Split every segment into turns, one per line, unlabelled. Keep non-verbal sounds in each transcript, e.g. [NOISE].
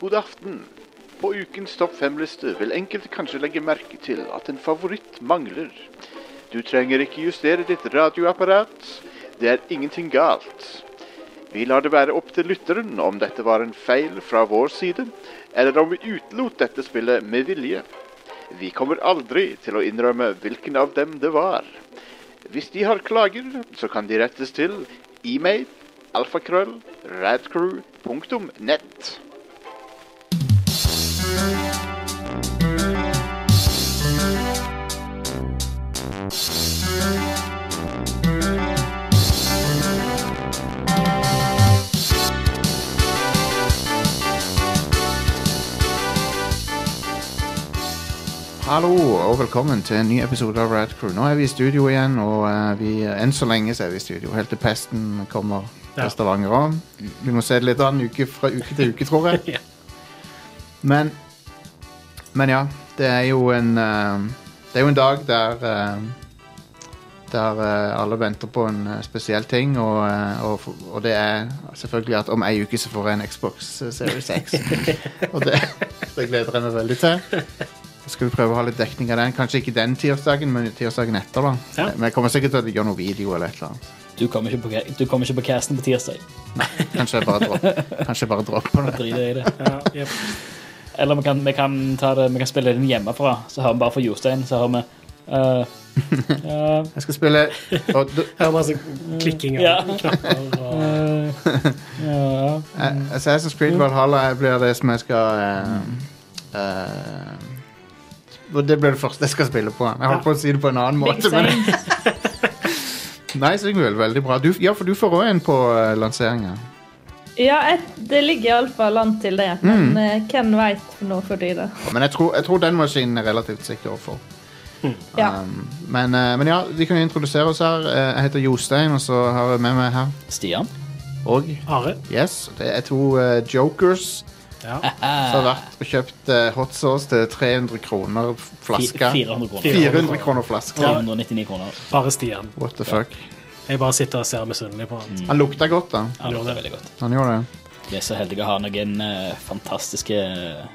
God aften. På ukens topp fem-liste vil enkelte kanskje legge merke til at en favoritt mangler. Du trenger ikke justere ditt radioapparat. Det er ingenting galt. Vi lar det være opp til lytteren om dette var en feil fra vår side, eller om vi utelot dette spillet med vilje. Vi kommer aldri til å innrømme hvilken av dem det var. Hvis de har klager, så kan de rettes til e-mail alfakrøll radcrew.net. Hallo og velkommen til en ny episode av Rad Crew. Nå er vi i studio igjen, og eh, vi, enn så lenge så er vi i studio. Helt til pesten kommer til
Ja.
Stavanger òg. Vi må se det litt an uke fra uke til uke, tror jeg.
[LAUGHS] Ja.
Men, men ja, det er jo en eh, Det er jo en dag der eh, der eh, alle venter på en eh, spesiell ting, og, eh, og, f- og det er selvfølgelig at om ei uke så får jeg en Xbox eh, Series
[LAUGHS]
X. og det, det gleder jeg meg veldig til. Så skal vi prøve å ha litt dekning av den. Kanskje ikke den tirsdagen, men tirsdagen etter. da.
Ja.
Men jeg kommer sikkert til å gjøre noe video eller et eller annet.
Du kommer ikke på, du kommer ikke på casten på tirsdag.
Kanskje jeg bare dropper, Kanskje jeg bare dropper det.
Drit i det.
Ja, jep.
Eller vi kan, vi, kan ta det, vi kan spille det inn hjemmefra, så hører vi bare fra Jostein. Så hører vi eh, eh,
Jeg skal spille og, du-
Her er masse klikking av
Ja.
knapper. Og...
eh, ja.
eh, Assassin's Creed Valhalla blir det som jeg skal eh, eh, og Det blir det første jeg skal spille på. Jeg holdt på å si det på en annen måte. Men, nei, Sigmund, veldig bra. Du, ja, for du får òg en på uh, lanseringa.
Ja, et, det ligger iallfall an til det.
Mm.
Men eh, hvem veit nå for tida?
Men jeg tror, jeg tror den maskinen er relativt sikker å få.
Ja.
Um, men, eh, men ja, vi kan jo introdusere oss her. Eh, jeg heter Jostein, og så har jeg med meg her
Stian.
Og
Are.
yes, det er to eh, jokers
Ja.
som har vært og kjøpt eh, hot sauce til 300 kroner f- flaska.
Fi- 400 kroner.
400 kroner flaska.
399 kroner.
Bare Stian.
What the fuck.
Jeg bare sitter og ser misunnelig på
Mm.
han.
Han lukta godt, da.
Ja, det er veldig godt.
Han gjorde det.
Vi er så heldige å ha noen eh, fantastiske eh,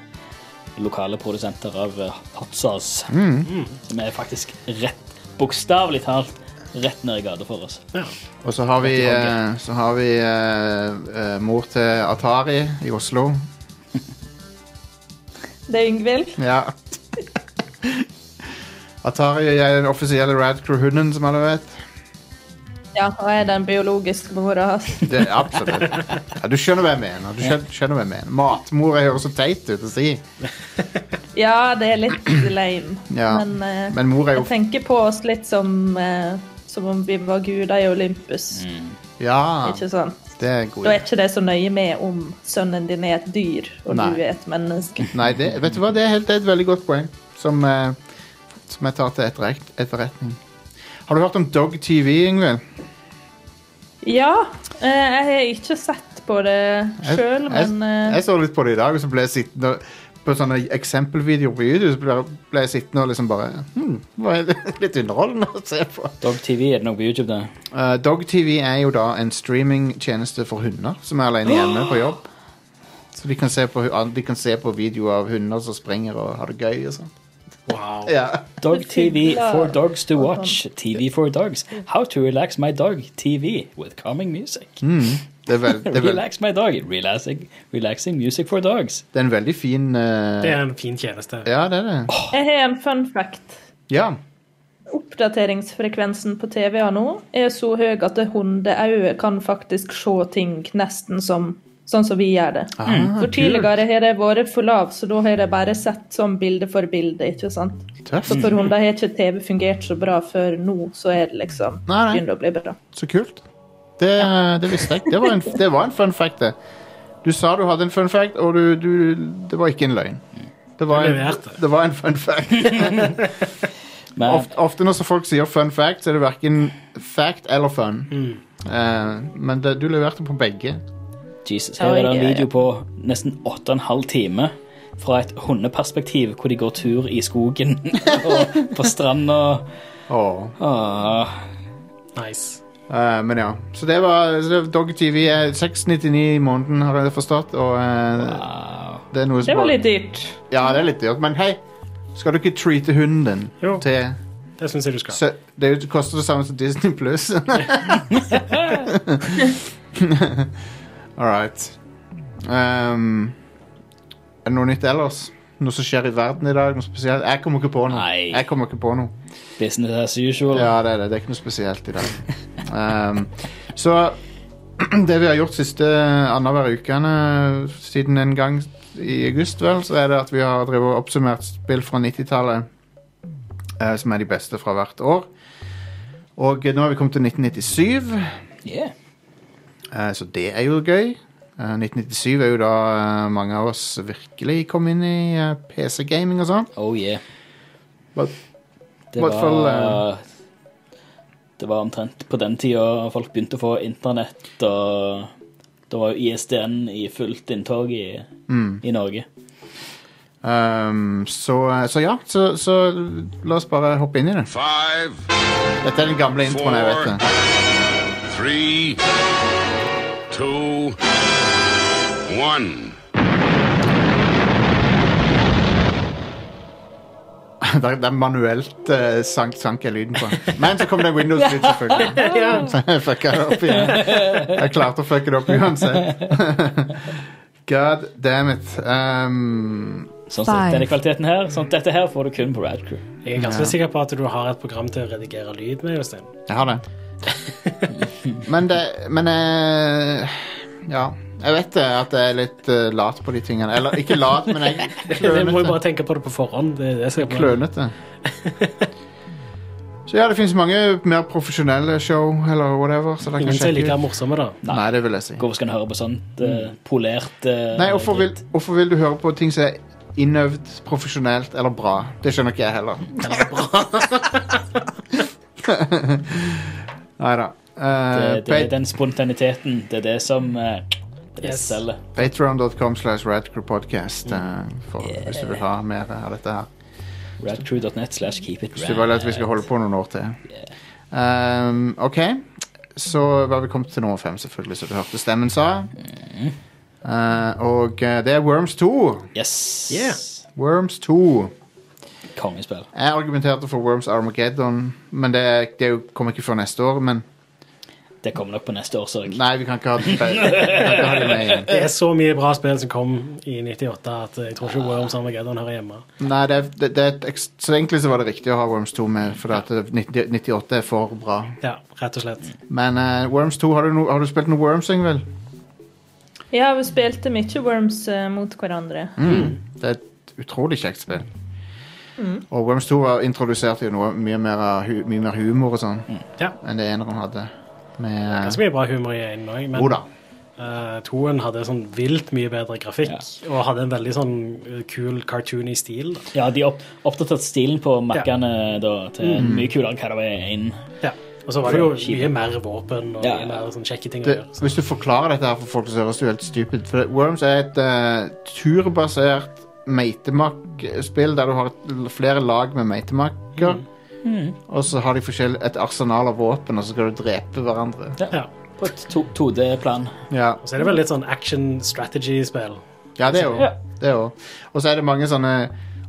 lokale produsenter av eh, hot sauce.
Mm.
Som er faktisk rett, bokstavelig talt, rett ned i gata for oss.
Ja.
Og så har vi,
Dette var
eh, så har vi eh, eh, mor til Atari i Oslo.
Det er Yngvild.
Ja. [LAUGHS] Atari er den offisielle Radcrew-hunden, som alle vet.
Ja, og jeg er den biologiske mora hans.
Det, absolutt. Ja, du skjønner hva jeg mener. Du skjønner, skjønner hva jeg mener. Matmor jeg høres så teit ut å si.
Ja, det er
[CLEARS THROAT]
litt lame,
Ja,
men, eh,
men mor er jo
jeg tenker på oss litt som eh, som om vi var guder i Olympus.
Ja,
Ikke sant?
det er god.
Da er ikke det så nøye med om sønnen din er et dyr og
Nei.
du er et menneske.
Nei, det, vet du hva? Det er, helt, det er et veldig godt poeng som, eh, som jeg tar til etterrekt- etterretning. Har du hørt om Dog TV, Ingvild?
Ja, eh, jeg har ikke sett på det
Jeg-
sjøl, men
jeg,
eh,
jeg så litt på det i dag, og så ble jeg sittende og- på sånne eksempelvideoer på YouTube. Så ble, ble jeg sittende og liksom bare hm, det var [LAUGHS] Litt underholdende å se på.
Dog TV, er det noe på YouTube, det?
Eh, Dog TV er jo da en streamingtjeneste for hunder som er alene hjemme på jobb. Så de kan se på, hu- de kan se på videoer av hunder som springer og har det gøy og sånn.
Wow.
Ja.
Dog TV
Fylla.
for dogs to watch. TV for dogs. How to relax my dog. TV with calming music.
Mm, Det, er veld, det, er veld,
Relax my dog. Relaxing, relaxing music for dogs.
det er en veldig fin eh,
Det er en fin tjeneste.
Ja, det er det.
jeg har en fun fact.
Ja.
Oppdateringsfrekvensen på TV-a nå er så høy at det hundeauget kan faktisk se ting nesten som sånn som vi gjør det.
Ah,
For tidligere har det vært for lav, så da har de bare sett sånn bilde for bilde. ikke sant?
kult. Tøft.
Så for hunder har ikke TV fungert så bra før nå, så er det liksom
Nei, nei.
begynner å bli bra.
Så kult. Det, eh, det visste jeg ikke. Det, var en- det var en fun fact, det. Du sa du hadde en fun fact, og du, du, det var ikke en løgn. Det var
Jeg
en,
leverte.
det var en fun fact.
Men
Ofte, ofte når så folk sier fun fact, så er det verken fact eller fun. Eh, men det, du leverte på begge.
Jesus, her er det
Oi,
en
ja,
video
ja.
på nesten 8,5 time fra et hundeperspektiv hvor de går tur i skogen [LAUGHS] og på stranda. Ah,
Åh.
Åh,
Nice.
Eh, men ja. Så det var så det- Dog TV er 699 i måneden, har jeg forstått. Og eh,
wow.
Det er noe
Det
som
var litt dyrt.
Ja, det er litt dyrt, men hei, skal du ikke treate hunden din
Jo.
til
Det syns jeg du skal.
sø- Det er jo- det koster det samme som Disney [LAUGHS] Pluss. All right. Um, er det noe nytt ellers? Noe som skjer i verden i dag? Noe spesielt? Jeg kommer ikke på noe.
Nei.
Jeg kommer ikke på noe.
Business as usual.
Ja, det er det. Det er ikke noe spesielt i dag. Um, så [CLEARS THROAT] det vi har gjort siste eh, annenhver ukene siden en gang i august, vel, så er det at vi har drevet og oppsummert spill fra 90-tallet, eh, som er de beste fra hvert år. Og eh, nå har vi kommet til 1997,
Yeah.
eh, så det er jo gøy. Eh, 1997 er jo da eh, mange av oss virkelig kom inn i eh, PC-gaming og sånn.
Oh yeah.
But-
Det
hvert fall,
var Det var omtrent på den tida folk begynte å få internett, og det var jo ISDN i fullt inntog i,
Mm.
i Norge.
Um, så, så ja, så, så la oss bare hoppe inn i det.
Five,
Dette er den gamle introen, jeg vet det.
three, two, one.
[LAUGHS] Det er, det er manuelt uh, sank, sank jeg lyden på. Men så kom det Windows-lyd, selvfølgelig. [LAUGHS] Så jeg fucka det opp igjen. Jeg klarte å fucke det opp uansett. [LAUGHS] God damn it. Um,
Sånn
Five.
sett, denne kvaliteten her, sånn, dette her får du kun på Radcrew.
Jeg er ganske sikker på at du har et program til å redigere lyd med, Jostein.
jeg
[LAUGHS]
har det. Men det Men eh, Ja. Jeg vet det, at jeg er litt eh, lat på de tingene. Eller ikke lat, men
[LAUGHS]
jeg
Jeg må jo
klønete.
bare tenke på det på forhånd. Det, er det som er problemet. [LAUGHS]
klønete. Så ja, det finnes mange mer profesjonelle show eller whatever. Så det kan
Ingen som er
sjekke
like
ut.
morsomme, da.
Nei, det vil jeg si.
Hvorfor skal en høre på sånt eh, polert eh,
Mm. Nei, hvorfor vil,
dritt?
hvorfor vil du høre på ting som er innøvd, profesjonelt eller bra? Det skjønner ikke jeg heller. [LAUGHS] Nei da. Eh,
det, eh, det er den spontaniteten. Det er det som eh, det er det
Yes.
som selger.
Patreon.com slash radcrewpodcast eh, for- hvis du vil ha mer av dette her.
Radcrew.net slash keep it
Hvis du vil at vi skal holde på noen år til. Um, ok, så var vi kommet til nummer fem, selvfølgelig, som du hørte stemmen
Mm.
sa. Eh, og eh, det er Worms 2.
Yes.
Yeah.
Worms 2.
Kongespill.
Jeg argumenterte for Worms Armageddon, men det, er- det er jo- kommer ikke før neste år. Men
Det kommer nok på neste år, så jeg.
nei, vi kan ikke ha det, [LAUGHS] vi kan ikke ha det med igjen.
Det er så mye bra spill som kom i 98 at jeg tror ikke Worms Armageddon hører hjemme.
Nei, det, er- det, det er et, ekst- så egentlig så var det riktig å ha Worms 2 med, for at det- 90 98 er for bra.
Ja, rett og slett.
Men eh, Worms 2, har du, no, har du spilt noe Worms, Ingvild?
Ja, vi spilte mye Worms eh, mot hverandre.
Mm.
Det er et utrolig kjekt spill. Og Worms 2 var introduserte jo noe mye mer, av hu, mye mer humor og sånn
Ja.
enn det eneren hadde. Med,
Ganske mye bra humor i én òg, men
jo da.
eh, toen hadde sånn vilt mye bedre grafikk og hadde en veldig sånn eh, kul cartoony stil.
Ja, de har opp, oppdatert stilen på Mac-ene da, til mye kulere enn hva det var inn.
Ja. Og så var det jo
Kjipe.
mye mer våpen og
Ja.
mye mer sånn kjekke ting å
det,
gjøre. så-
hvis du forklarer dette her for folk, så høres det jo helt stupid For Worms er et eh, turbasert meitemakk-spill der du har et, flere lag med meitemakker.
Mm.
Og så har de forskjell- et arsenal av våpen, og så skal du drepe hverandre.
Ja.
På et to- 2D-plan.
Ja,
Og så er det vel litt sånn action strategy-spill.
ja det er jo det. Er jo. Og så er det mange sånne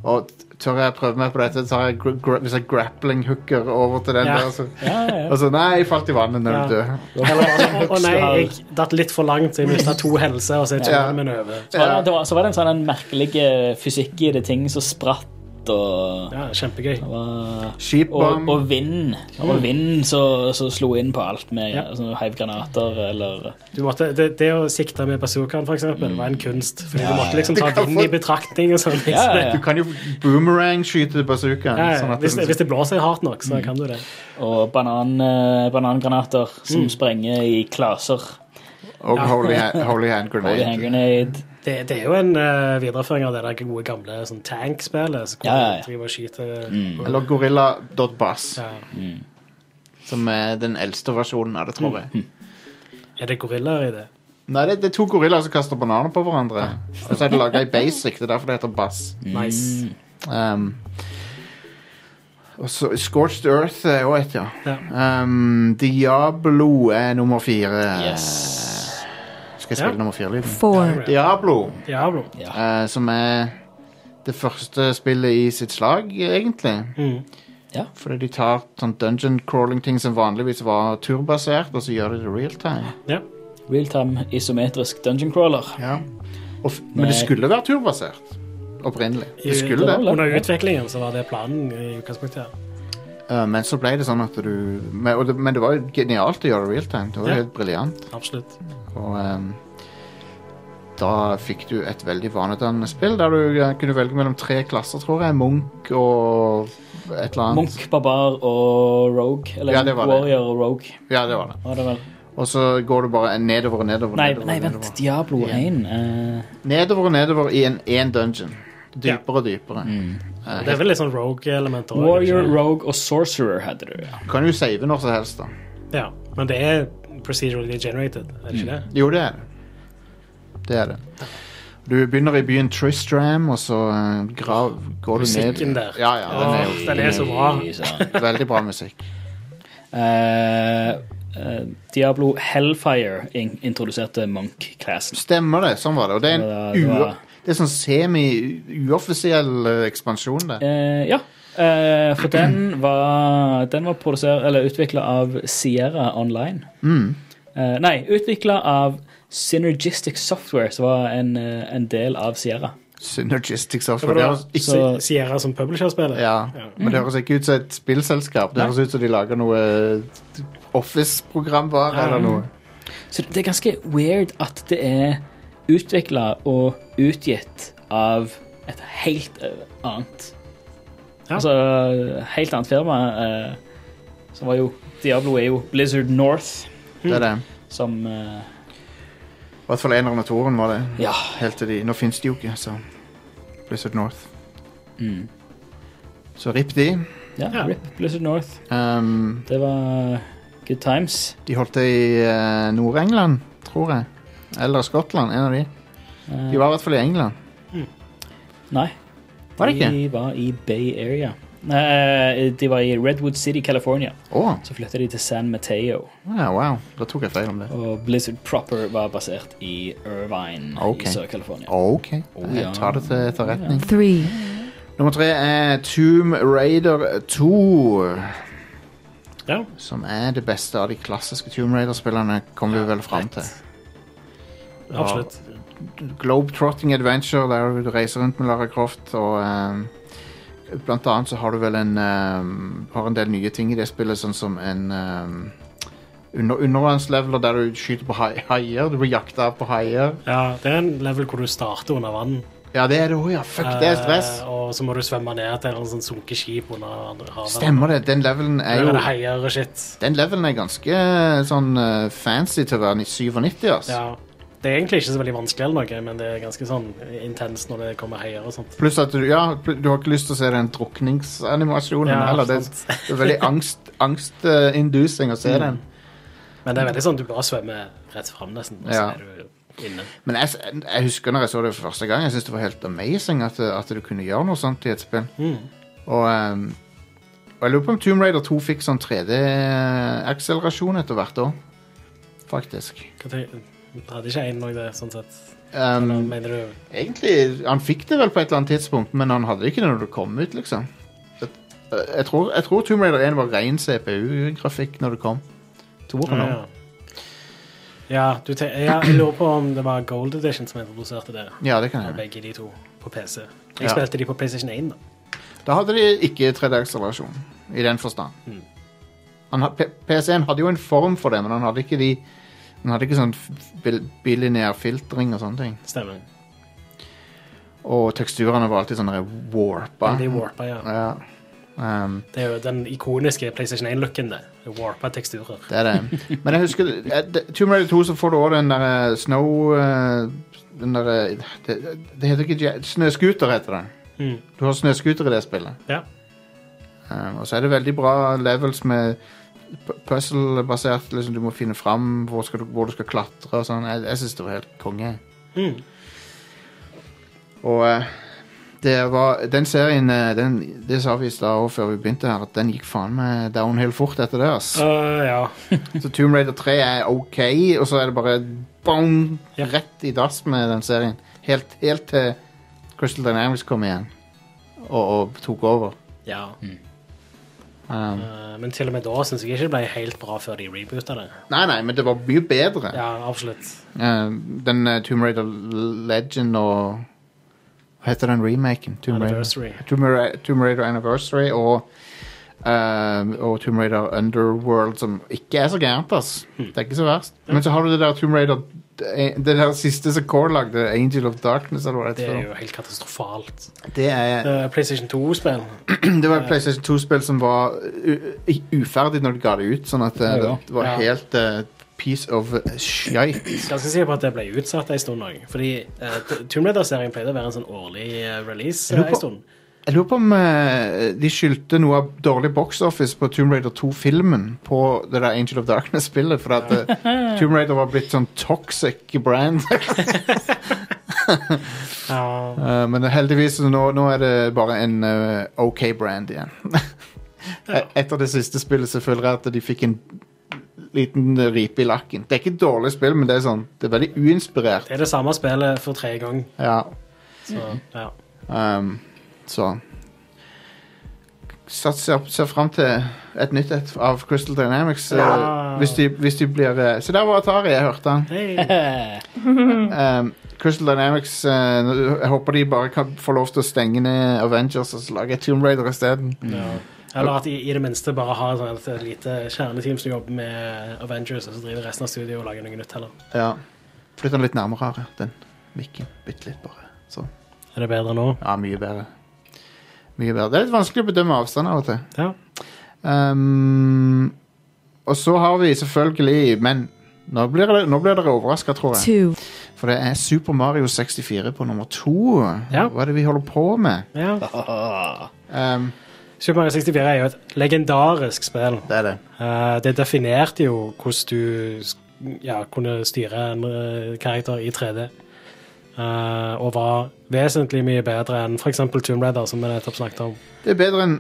og Tør jeg prøve meg på dette? Tar jeg gr gr hvis jeg grappling hooker over til den
Ja.
der? Så,
Ja, ja, ja.
og så Nei, jeg falt i vannet når
Ja.
du døde.
Eller bare sånn, å nei,
har-
jeg datt litt for langt, så jeg mista to helse, og så
[LAUGHS]
er
Ja.
turen min over.
Så var, det, det var, så var det en sånn en merkelig eh, fysikk i det, ting som spratt og
Ja, kjempegøy.
det var- og,
Skipbom.
og vind. Og vind som som slo inn på alt med
Ja.
sånn, heivgranater eller
Du måtte, det, det å sikte med bazookaen, for eksempel, var en kunst. Fordi du måtte liksom ta
kan
vind
få-
i betraktning og sånn.
Ja,
Liksom.
ja,
Du
ja.
kan jo boomerang-skyte bazookaen.
Ja,
sånn
ja,
at
hvis,
den-
hvis det blåser hardt nok, så kan du det.
Og banan, eh, banangranater som sprenger i klaser.
Og Holy, Ha- Holy Hand
Body
Grenade.
hand grenade.
Det, det er jo en eh, videreføring av det der gode gamle sånn tankspillet. Så hvor
Ja, ja, ja.
du driver og skyter og-
Eller Gorilla.bass,
ja.
som er den eldste versjonen av det, tror jeg.
Er det gorillaer i det?
Nei, det, det er to gorillaer som kaster bananer på hverandre. Og så er det laga i basic, det er derfor det heter bass.
Nice.
Um, og så Scorched Earth er jo et, ja.
Ja.
Um, Diablo er nummer fire.
Yes.
Skal jeg
Ja.
spille nummer fire-lyden?
Four.
Diablo.
Diablo.
Ja.
eh, som er det første spillet i sitt slag, egentlig.
Mm.
Ja.
Fordi de tar sånn dungeon crawling-ting som vanligvis var turbasert, og så gjør de det real time.
Ja.
Realtime isometrisk dungeon crawler.
Og f men det
Nei.
skulle være turbasert opprinnelig. Det skulle
det var
det.
vel-
Under utviklingen så var det planen i utgangspunktet.
Eh, men så ble det sånn at du men, og det, men det var jo genialt å gjøre det real time. Det var jo
Ja.
helt briljant.
Absolutt.
Og ehm, da fikk du et veldig vanedannende spill der du eh, kunne velge mellom tre klasser, tror jeg. Munch og et eller annet.
Monk, barbar og rogue. Eller
Ja, det var det.
warrior og rogue.
Ja, det var det.
Var det vel?
Og så går du bare nedover og nedover.
Nei,
nedover,
nei, vent.
nedover.
Diablo
Ja.
1. eh,
nedover og nedover i en, en dungeon. Dypere og dypere. Eh,
Mm. Det er vel litt sånn rogue-elementer også,
warrior,
ikke?
rogue og sorcerer hadde du. ja.
Du kan jo save når som helst, da.
Ja. Men det er procedurally generated, er det ikke det?
Jo, det er det. Det er det. Du begynner i byen Tristram, og så eh, grav, går du ned
Musikken der.
Ja, ja, den er
Åh,
jo
den er så
[LAUGHS]
bra.
Sånn.
veldig bra musikk.
Eh, eh, Diablo Hellfire in introduserte Monk-classen.
Stemmer det. Sånn var det. Og det er
Ja,
en
det var-
uo- det er sånn semi-uoffisiell eh, ekspansjon, det.
Eh, ja, eh, for den var, den var produsert, eller utvikla av Sierra Online.
Mm.
Eh, nei, utvikla av Synergistic Software, som var en, eh, en del av Sierra.
Synergistic
Det var
software. Det
da
høres ikke
Si- Sierra som publisher-spiller.
Ja, men det høres ikke ut som et spillselskap. Det
Nei.
høres ut som de lager noe eh, Office-programvare
Ja.
eller noe.
Så det er ganske weird at det er utvikla og utgitt av et helt eh, annet
Ja.
Altså helt annet firma. eh, som var jo Diablo er jo Blizzard North,
Det er det.
som eh,
I hvert fall eneren og toeren var det.
Ja.
Helt til de Nå fins de jo ikke, så Blizzard North.
Mm.
Så rip de.
Ja,
Ja.
RIP Blizzard North.
Um,
Det var good times.
de holdt det i eh, Nord-England, tror jeg. Eller Skottland, en av de.
Eh,
De var i hvert fall i England.
Nei.
Var det ikke?
De var i Bay Area. Nei, eh, de var i Redwood City, California.
Å,
Så flytta de til San Mateo.
ja, wow. Da tok jeg feil om det.
Og Blizzard Proper var basert i Irvine
Ok.
i Sør-California.
OK.
Å,
Jeg
ja.
tar det til etterretning.
Three.
Nummer tre er Tomb Raider 2.
Ja.
Som er det beste av de klassiske Tomb Raider-spillene, kommer vi vel fram til.
Absolutt.
Globetrotting Adventure, der du reiser rundt med Lara Croft, og ehm, blant annet så har du vel en ehm, Har en del nye ting i det spillet, sånn som en ehm, under undervannsleveler der du skyter på hai- haier. Du blir jakta på haier.
Ja, det er en level hvor du starter under vann.
Ja, det er det òg, ja. Fuck, det er stress.
Eh, og så må du svømme ned til en sånn sunkeskip under andre havet.
Stemmer det. Den levelen er
Der er
jo
det heier og shit.
Den levelen er ganske sånn eh, fancy til å være 97, ass.
Ja. Det er egentlig ikke så veldig vanskelig, eller noe, men det er ganske sånn intenst når det kommer heier og sånt.
Pluss at du, ja, pl- du har ikke lyst til å se den drukningsanimasjonen
Ja,
heller. Det,
sant. Mm.
det er veldig angst, angstinducing å se den.
Men det er veldig sånn du bare svømmer rett fram, nesten, og så
Ja.
er du inne.
Men jeg, s- jeg husker når jeg så det for første gang, jeg syntes det var helt amazing at, at du kunne gjøre noe sånt i et spill.
Mm.
Og, ehm, og jeg lurer på om Tomb Raider 2 fikk sånn 3D-akselerasjon etter hvert år. Faktisk.
Hva tenk- Hadde ikke én noe det, sånn sett. Eller
Ehm,
mener du
egentlig, han fikk det vel på et eller annet tidspunkt, men han hadde ikke det når det kom ut, liksom. Jeg, jeg, tror, jeg tror Tomb Raider 1 var ren CPU-grafikk når det kom. Toren
Ja,
òg.
ja. Ja, du te ja, jeg lurer på om det var Gold Edition som introduserte det.
Ja, det kan jeg gjøre.
Begge de to på PC.
Ja.
Jeg spilte de på PlayStation 1, da.
Da hadde de ikke 3D-akselerasjon, i den forstand.
Mm.
Han, ha- P- PC-en hadde jo en form for det, men han hadde ikke de Han hadde ikke sånn f- bil- bilineær filtring og sånne ting.
Stemmer.
Og teksturene var alltid sånne warpa.
De warpa, ja.
Ja. Um,
Det er jo den ikoniske PlayStation 1-looken, det. Warpa teksturer.
Det er det. Men jeg husker eh, det- Tomb Raider 2 så får du også den der eh, snow... eh, Den der eh, det, det heter ikke jet- Snøskuter heter det.
Mm.
Du har snøskuter i det spillet.
Ja.
Eh, og så er det veldig bra levels med pu- puzzle-basert. Liksom, du må finne fram hvor, skal du, hvor du skal klatre og sånn. Jeg, jeg syns det var helt konge.
Mm.
Og eh, det var, den serien eh, den, Det sa vi i stad også før vi begynte her, at den gikk faen meg downhill fort etter det. ass.
Øh, ja.
Så Tomb Raider 3 er ok, og så er det bare boom,
Ja.
rett i dass med den serien. Helt, helt til Crystal Dynamics kom igjen og, og tok over.
Ja.
Mm. Um,
Eh, Men til og med da syns jeg ikke det ble helt bra før de reboota det.
Nei, nei, men det var mye bedre.
Ja, absolutt.
Eh, den eh, Tomb Raider Legend og Hva heter den remaken? Tomb Raider-
Anniversary.
Tomb Raider, Tomb Raider Anniversary og, eh, og Tomb Raider Underworld, som ikke er så gærent, ass.
Hmm.
Det er ikke så verst. Men så har du det der Tomb Raider eh, Det der siste som Core lagde, Angel of Darkness, eller hva det
Det er
heter.
jo helt katastrofalt.
Det er
Eh, PlayStation 2-spill.
[CLEARS THROAT] det var et PlayStation 2-spill som var u- u- uferdig når de ga det ut, sånn at eh,
Ja, ja.
det var
Ja.
helt eh, piece of shite.
Ganske sikker på at det ble utsatt en stund òg. Fordi eh, T- Tomb Raider-serien pleide å være en sånn årlig eh, release
Jeg lurer
eh,
på-
en stund.
Jeg lurer på om eh, de skyldte noe av dårlig box office på Tomb Raider 2-filmen på det der Angel of Darkness-spillet, for at eh, Tomb Raider var blitt sånn toxic brand. [LAUGHS]
Ja.
Eh, men heldigvis så nå, nå er det bare en eh, OK brand igjen. [LAUGHS] E- Etter det siste spillet så føler jeg at de fikk en liten eh, ripe i lakken. Det er ikke et dårlig spill, men det er sånn, det er veldig uinspirert.
Det er det samme spillet for tredje gang.
Ja,
Så, ja.
um, så Sats ser, ser frem til et nytt et av Crystal Dynamics. eh,
Ja.
hvis, de, hvis de blir eh, Se, der var Atari, jeg hørte han.
[LAUGHS] Hei.
Eh,
Um, Crystal Dynamics eh, nå- Jeg håper de bare kan få lov til å stenge ned Avengers og så lage Tomb Raider isteden.
Ja. Eller at de i det minste bare har sånn et lite kjerneteam som jobber med eh, Avengers, og så driver resten av studioet og lager noe nytt heller.
Ja. Flytt den litt nærmere her, den mikken. Bitte litt, bare. Sånn.
Er det bedre nå?
Ja, mye bedre. Mye bedre. Det er litt vanskelig å bedømme avstand av og til.
Ja.
Um, og så har vi selvfølgelig Men nå blir, det, nå blir dere overraska, tror jeg.
two,
For det er Super Mario 64 på nummer to.
Ja.
Hva er det vi holder på med?
ja.
ah,
Um,
Super Mario 64 er jo et legendarisk spill.
det er det.
Eh, det definerte jo hvordan du sk- ja, kunne styre en eh, karakter i 3D. Eh, og var vesentlig mye bedre enn f.eks. Tomb Raider, som vi nettopp snakket om.
Det er bedre enn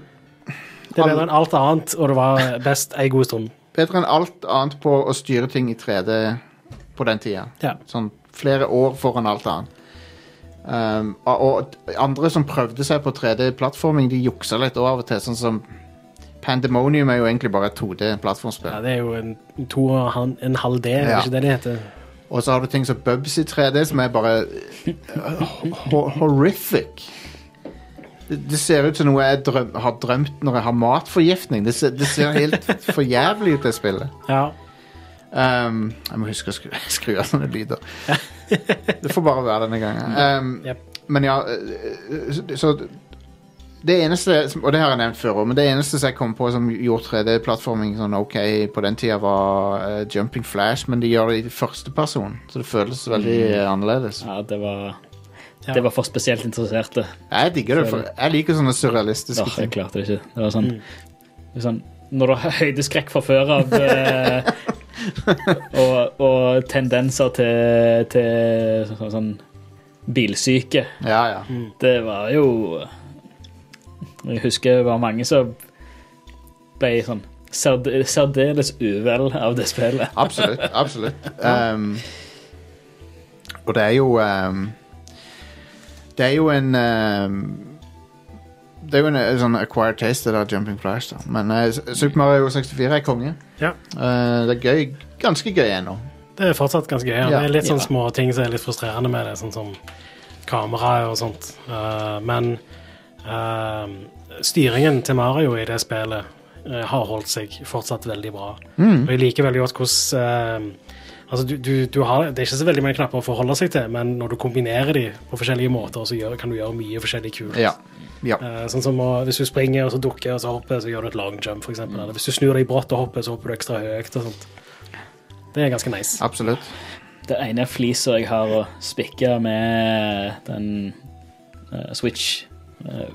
Det er bedre enn alt annet, og det var best ei god stund.
bedre enn alt annet på å styre ting i 3D på den tida.
[LAUGHS] Ja.
Sånn flere år foran alt annet. Um, og, og andre som prøvde seg på 3D-plattforming, de juksa litt også av og til. Sånn som Pandemonium er jo egentlig bare et 2D-plattformspill.
Ja, det er jo en to og han- en halv D, er det
Ja.
ikke det det heter?
Og så har du ting som Bubsy 3D, som er bare ho horrific. Det, det ser ut som noe jeg drøm, har drømt når jeg har matforgiftning. Det ser, det ser helt for jævlig ut, det spillet.
Ja.
Um, jeg må huske å skru, [LAUGHS] skru av sånne lyder. Det får bare være denne gangen. Um,
Jep.
Men ja, så- så det eneste, som- og det har jeg nevnt før også, men det eneste som jeg kom på som gjorde 3D-plattforming sånn ok på den tida, var eh, Jumping Flash, men de gjør det i første person, så det føles veldig eh, annerledes.
Ja, det var Det var for spesielt interesserte.
Jeg digger det, for jeg liker sånne surrealistiske
Åh, jeg
ting.
klarte det ikke. Det var sånn, det var sånn Når du har høydeskrekk fra før av eh, og, og tendenser til, til sånn, sånn bilsyke
Ja, ja.
Det var jo Jeg husker det var mange som ble sånn særd- særdeles uvel av det spillet.
Absolutt. absolutt. Um, og det er jo um, Det er jo en um, Det er jo en eh, sånn acquired taste, det der Jumping Flash. da. Men eh, Super Mario 64 er konge.
ja.
Eh, det er gøy. Ganske gøy ennå.
Det er fortsatt ganske gøy. Ja.
Ja.
Det er litt sånn
Ja.
små ting som er litt frustrerende med det, sånn som kamera og sånt. Eh, men eh, styringen til Mario i det spillet eh, har holdt seg fortsatt veldig bra.
Mm.
Og jeg liker veldig godt hvordan eh, Altså, du, du, du har, det er ikke så veldig mange knapper å forholde seg til, men når du kombinerer de på forskjellige måter, så gjør, kan du gjøre mye forskjellig kult.
Ja. ja.
Eh, sånn som å- Hvis du springer, og så dukker og så hopper, så gjør du et long jump, f.eks.
Mm.
eksempel Eller hvis du snur deg brått og hopper, så hopper du ekstra høyt og sånt. Det er ganske nice.
Absolutt.
Det ene flisa jeg har å spikke med den eh, Switch eh,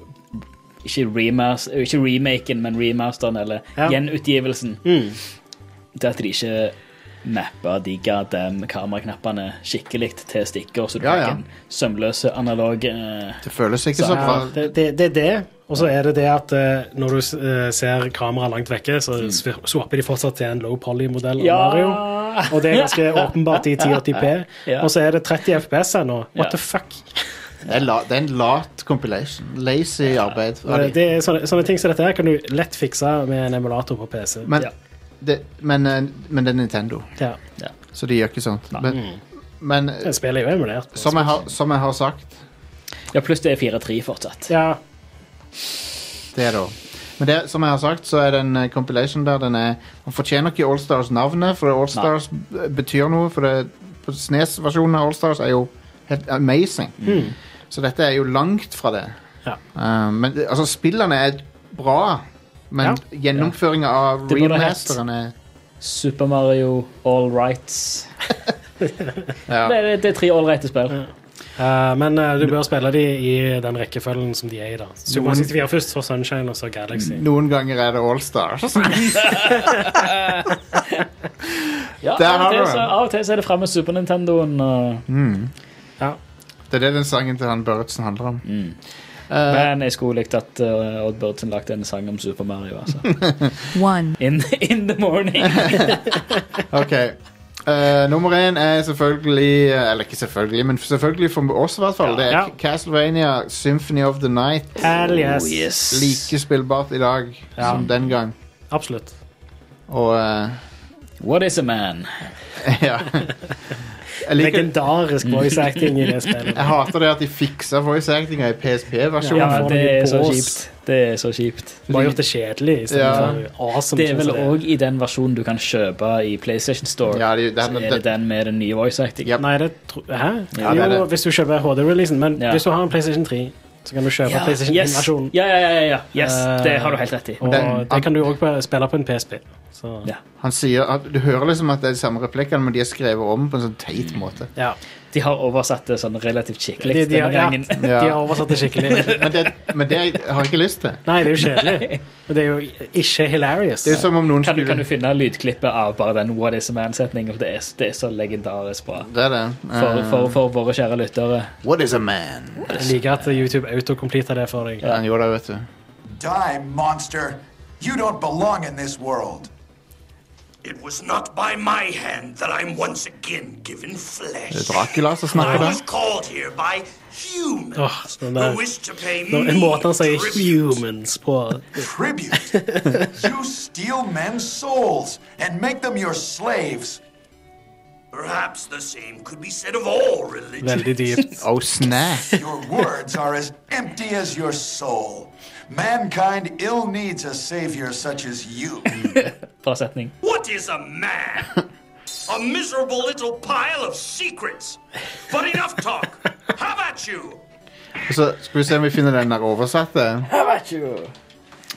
ikke, remas eh, ikke remaken, men remasteren, eller
Ja.
gjenutgivelsen.
Mm.
Det at de ikke mappa de goddamn kameraknappene skikkelig til stikker, så du
Ja,
fikk
ja.
en sømløse analog eh,
Det føles ikke så
Ja,
bra.
det, det, det er det, Og så er det det at eh, når du s- eh, ser kameraet langt vekke, så svir- swapper de fortsatt til en low poly-modell av Mario. Og det er ganske åpenbart i 1080p.
Ja.
Og så er det 30 FPS ennå. What
Ja.
the fuck?
Det er, la, det er en lat compilation. Lazy arbeid. av de.
Det er sånne, sånne ting som dette her kan du lett fikse med en emulator på PC.
Men,
Ja.
det, men, eh, men det er Nintendo,
Ja.
så de gjør ikke sånt. Men, men eh,
Spillet er jo emulert.
som, jeg har, som jeg har sagt,
Ja, pluss det er 4-3 fortsatt.
Ja,
det er det også. Men det, som jeg har sagt, så er den eh, compilation der den er Han fortjener ikke Allstars-navnet, for Allstars betyr noe. For det, på SNES-versjonen av Allstars er jo helt amazing.
Mm.
Så dette er jo langt fra det.
Ja.
Eh, men det- altså, spillene er bra, men gjennomføringa av
Det burde hett.
remasteren er
Super Mario All Rights.
Ja.
Det, det, det er tre all righte spill.
Eh, men eh, du bør spille de i den rekkefølgen som de er i, da. Super
Noen-
64 først, så Sunshine, og så Galaxy.
Noen ganger er det
[LAUGHS]
Allstars.
Ja,
Der
av,
har
og
du
til,
den.
så, av og til så er det fremme Super Nintendoen. og-
Ja.
Det er det den sangen til han Børretzen handler om.
Men jeg skulle likt at eh, Odd Børdsen lagde en sang om Super Mario. Altså. [LAUGHS]
one.
In, in the morning.
Ok. Eh, nummer én er selvfølgelig eh, Eller ikke selvfølgelig, men selvfølgelig for oss, i hvert fall. Det er
Ja.
Castlevania Symphony of the Night.
Hell yes.
Oh, yes.
Like spillbart i dag
Ja.
som den gang.
Absolutt.
Og eh, [LAUGHS]
What is a man?
Ja. Jeg, liker,
Legendarisk voice acting i det spillet.
jeg hater det at de fiksa voice actinga i PSP-versjonen.
Ja,
Ja,
får
det
du
er så
bås.
kjipt. Det er så kjipt.
Bare gjort det kjedelig istedenfor
Ja.
awesome.
Det er
synes
vel
jeg
òg i den versjonen du kan kjøpe i PlayStation Store.
Ja, det- det-
så er det den med den nye voice acting.
Ja.
Nei, det tro... Hæ?
Ja, det er
Jo,
det.
hvis du kjøper HD-releasen, men
Ja.
hvis du har en PlayStation 3, så kan du kjøpe
Ja,
PlayStation
yes.
1-versjonen.
Ja, ja, ja, ja. Yes,
Eh,
det har du helt rett i.
Og
Den-
det kan du òg spille på en PSP. Så
Ja.
Han sier at, du hører liksom at det er de samme replikkene, men de er skrevet om på en sånn teit måte.
ja.
De har oversatt det sånn relativt skikkelig
De, de, har,
denne
[LAUGHS]
ja,
gangen.
de har oversatt det skikkelig.
Men det, men det har jeg ikke lyst til.
Nei, det er jo
[LAUGHS]
kjedelig. Men det er jo ikke hilarious.
Det er jo som om noen
Kan du, kan
skulle
du finne lydklippet av bare den What is a man-setningen? For det er, det er så legendarisk bra.
Det er det.
For,
Eh,
for, for våre kjære lyttere.
What is a man?
Jeg liker at YouTube autocompleta det for deg.
Ja, han gjorde det, vet du.
Die, monster! You don't belong in this world.
It was not by my hand that I'm once again given flesh.
Det er Dracula som snakker
I
der.
was called here by humans
Åh, den der-
who wished to pay
Når
me
måten han sier
tribute.
'humans' på
Tribute.
[LAUGHS]
you steal men's souls and make them your slaves.
Perhaps the same could be said of all religions.
Veldig dypt.
Oh, snap.
Your words are as empty as your soul. Mankind ill needs a savior such as you.
Bra setning.
[LAUGHS] What is a man? a miserable little pile of secrets. But enough talk. How about you?
Og Så skal vi se om vi finner den der oversatte.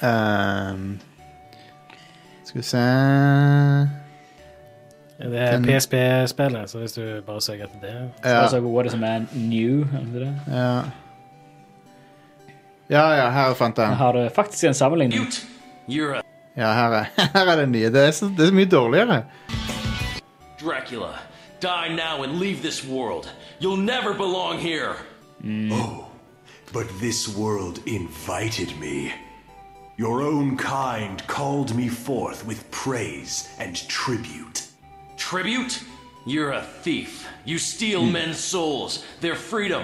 Ehm, skal vi se
Det er PSP-spillet, så hvis du bare søker etter det
Ja.
Altså, What is a man new? er det det?
ja. ja, ja, her fant jeg den.
Har du faktisk en sammenligning?
You're a
Ja, her er, [LAUGHS] her er den nye. Det er, så, det er så mye dårligere.
Dracula. Die now and leave this world. You'll never belong here.
Oh, But this world invited me. Your own kind called me forth with praise and tribute.
Tribute? You're a thief. You steal men's souls, their freedom.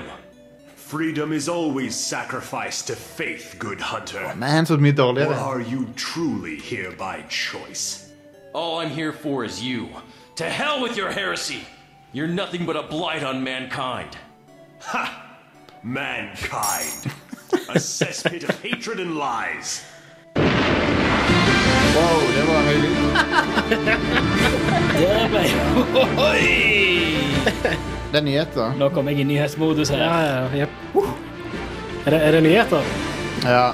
Freedom is always sacrificed to faith, good hunter.
Man, så mye
Or
dårligere.
are you truly here by choice?
All I'm here for is you. To hell with your heresy. You're nothing but a blight on mankind.
Mankind. A cesspit of hatred and lies.
Wow, det var høy lyd.
Der ble Oi!
Det er nyheter.
Nå kom jeg i nyhetsmodus
Ja,
her.
ja, ja. Jepp. Er det, er det nyheter?
Ja.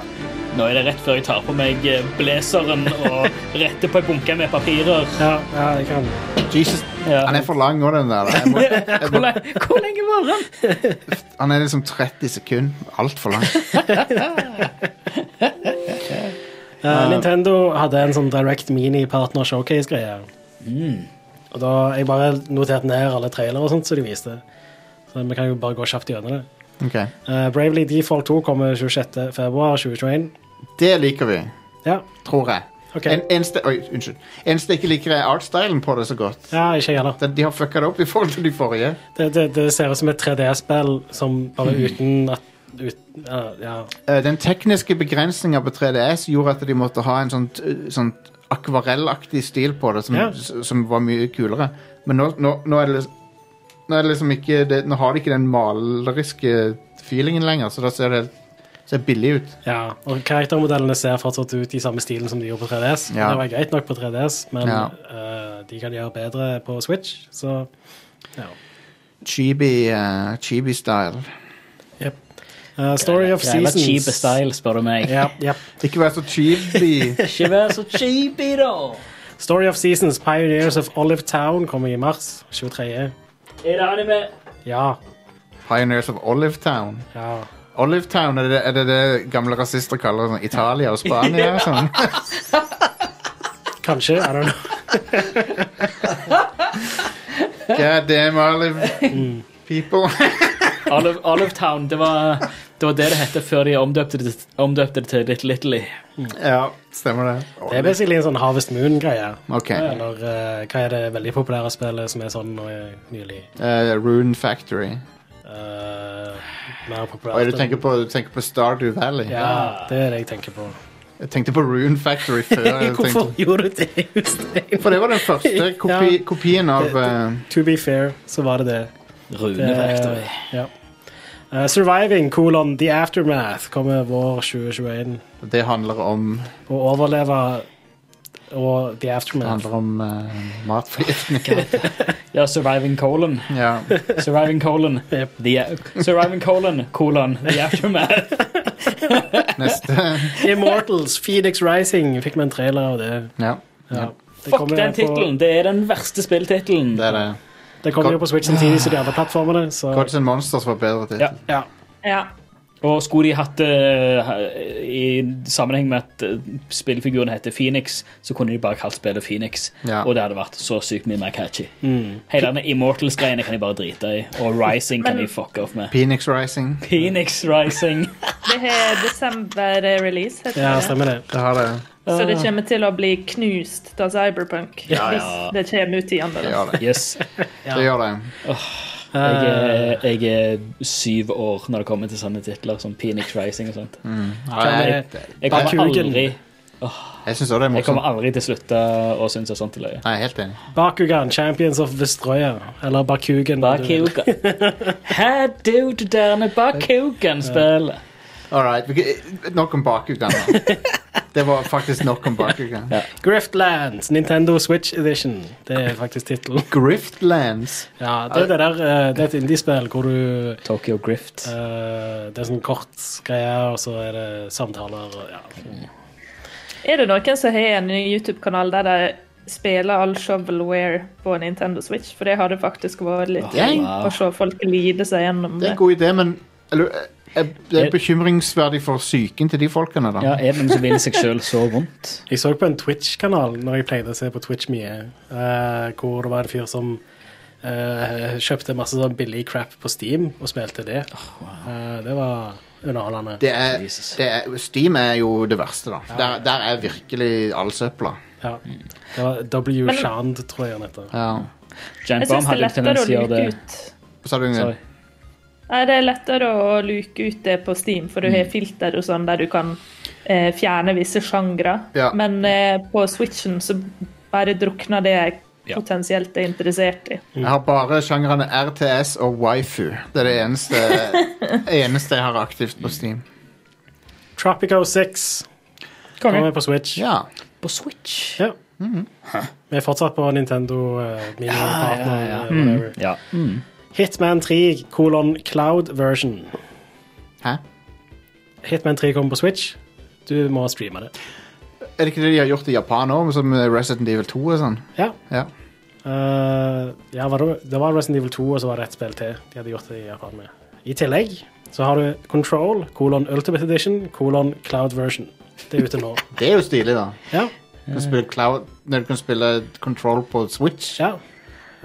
Nå er det rett før jeg tar på meg eh, blazeren og retter på en bunke med
[LAUGHS]
papirer.
Ja, ja jeg kan. Eh,
Jesus,
Ja.
han er for lang òg, den der. Jeg
[LAUGHS]
må, jeg
Hvor,
må,
le hvor lenge var den?
han er liksom 30 sekunder. Altfor lang.
Eh, Nintendo hadde en sånn Direct Mini Partner Showcase-greie. Og da Jeg bare noterte ned alle trailere og sånt som de viste. Så vi kan jo bare gå kjapt gjennom det.
Ok.
Eh, Bravely Default 2 kommer 26.2.2021.
Det liker vi,
Ja,
tror jeg.
OK.
En, eneste, oi, unnskyld. Eneste jeg ikke liker, er artstylen på det så godt.
Ja, ikke jeg heller.
Den, de har fucka det opp i forhold til de forrige.
Det, det, det ser ut som et 3D-spill som bare uten at ut, eh, Ja.
Eh, den tekniske begrensninga på 3DS gjorde at de måtte ha en sånn, t- sånn akvarellaktig stil på det, som,
Ja.
s- som var mye kulere. Men nå, nå, nå er det liksom nå, er det liksom ikke, det, nå har de ikke den maleriske feelingen lenger, så da ser det ser billig ut.
ja. Og karaktermodellene ser fortsatt ut i samme stilen som de gjorde på 3DS.
Ja.
Det var greit nok på 3DS, men
Ja.
eh, de kan gjøre bedre på Switch, så eh, ja.
Chibi, eh, Chibi-style.
Yep. Eh, Story of
Jævla
Seasons.
cheap style, spør du meg.
Ja, ja.
Ikke vær så [LAUGHS] chibi.
Ikke vær så cheapy, da!
Story of Seasons, Pioneers of Olive Town, kommer i mars 23.
Er det anime?
Ja.
Pioneers of Olive Town.
ja.
Olive Town er det er det, det gamle rasister kaller sånn Italia og Spania. [LAUGHS] og Sånn.
Kanskje. I don't know.
God damn Olive people.
Olive, Olive Town, det var det var det det het før de omdøpte det, omdøpte det til Little Italy.
ja, stemmer det.
Det er basically en sånn Harvest Moon-greie.
Ok.
Eller eh, hva er det veldig populære spillet som er sånn nå eh, nylig?
Eh, Rune Factory.
Eh, mer populært.
Oi, du
enn-
tenker på, du tenker på Stardew Valley?
Ja, det er det jeg tenker på.
Jeg tenkte på Rune Factory før. Jeg tenkte.
gjorde du det, Jostein?
For det var den første kopi, kopien av eh,
To be fair, så var det det.
Rune Verktøy.
Eh, ja. Eh, surviving, colon, The Aftermath kommer vår 2021.
eh, Det handler om,
Å overleve og The
det
Aftermath.
handler om uh, matforgiftning.
Ja, Surviving Colon.
ja.
Surviving Colon.
Yep.
The, surviving Colon, colon, The Aftermath.
Neste.
Immortals, Phoenix Rising. Fikk vi en trailer av det.
Ja,
Ja. Det
Fuck
kommer
den
på-
tittelen! Det er den verste spilltittelen.
det er det.
Det kommer jo på Switch samtidig som de andre plattformene. Så,
Gods and Monsters var bedre til.
Ja.
ja.
Ja.
Og skulle de hatt det i sammenheng med at eh, spillfiguren heter Phoenix, så kunne de bare kalt spillet Phoenix.
Ja.
Og det hadde vært så sykt mye mer catchy. Hele denne Immortals-greiene kan de bare drite i, og Rising kan de fucke off med.
Phoenix Rising.
Phoenix Rising.
Det har desember-release, heter
ja,
det.
stemmer det.
Det har det.
Så det kommer til å bli knust av Cyberpunk
Ja, ja.
hvis det kommer ut i andre.
Det gjør det.
Yes.
det, gjør det.
Jeg er, jeg er syv år når det kommer til sånne titler som Phoenix Rising og sånt.
Ja, jeg
Jeg kommer
Bakugan.
aldri,
jeg syns også det er
jeg kommer
morsomt.
aldri til å slutte å synes at sånt er løye.
Nei, jeg er helt enig.
Bakugan, Champions of Vestroya. Eller Bakugan.
Bakugan.
[LAUGHS]
Hæ, du, du derne Bakugan-spillet?
All right. vi kan- eh, Nok om bakugan.
[LAUGHS]
da. Det var faktisk nok om bakugan.
Griftlands, Nintendo Switch Edition. Det er faktisk tittelen.
Griftlands.
Ja, det er det der eh, Det er et indiespill hvor du
Tokyo Grift.
eh, Det er sånn kort greier, og så er det samtaler og ja.
Er det noen som har en YouTube-kanal der de spiller all shovelware på Nintendo Switch? For det hadde faktisk vært litt
Ja,
gøy
wow.
å se folk lide seg gjennom
Det er
det.
en god idé, men eller, eh, det er bekymringsverdig for psyken til de folkene, da.
Ja, er det noen som vil seg sjøl så vondt?
Jeg så på en Twitch-kanal når jeg pleide å se på Twitch mye, eh, hvor det var en fyr som eh, kjøpte masse sånn billig crap på Steam og spilte det. Eh, det var underholdende.
Det er,
Jesus.
det er, Steam er jo det verste, da. Der, der er virkelig all søpla.
Ja. Det var W. Shand, tror jeg han heter.
Ja.
Giant
Jeg syns
Bomb
det er
hadde en
lettere
tendens
å
til å gjøre
luke
det.
ut
Sa du Ingrid?
Sorry.
Nei, det er lettere å luke ut det på Steam, for du
Mm.
har filter og sånn der du kan eh, fjerne visse sjangre.
Ja.
Men eh, på Switchen så bare drukner det jeg
Ja.
potensielt er interessert i.
Jeg har bare sjangrene RTS og waifu. Det er det eneste,
[LAUGHS]
eneste jeg har aktivt på
Mm.
Steam.
Tropico 6 kommer på Switch.
Ja.
På Switch.
Ja.
Mm-hmm.
Vi er fortsatt på Nintendo uh, Mini-partner. eh, whatever.
Ja. Mm.
Hitman 3 kolon cloud version.
Hæ?
Hitman 3 kommer på Switch. Du må streame det.
Er det ikke det de har gjort i Japan òg, som med Resident Evil 2 og sånn?
Ja.
Ja.
Eh, ja, var det, det var Resident Evil 2, og så var det ett spill til de hadde gjort det i Japan med. I tillegg så har du Control, kolon Ultimate Edition, kolon Cloud Version. Det er ute nå.
Det er jo stilig, da.
Ja.
Du kan spille, Cloud, når du kan spille Control på Switch.
ja.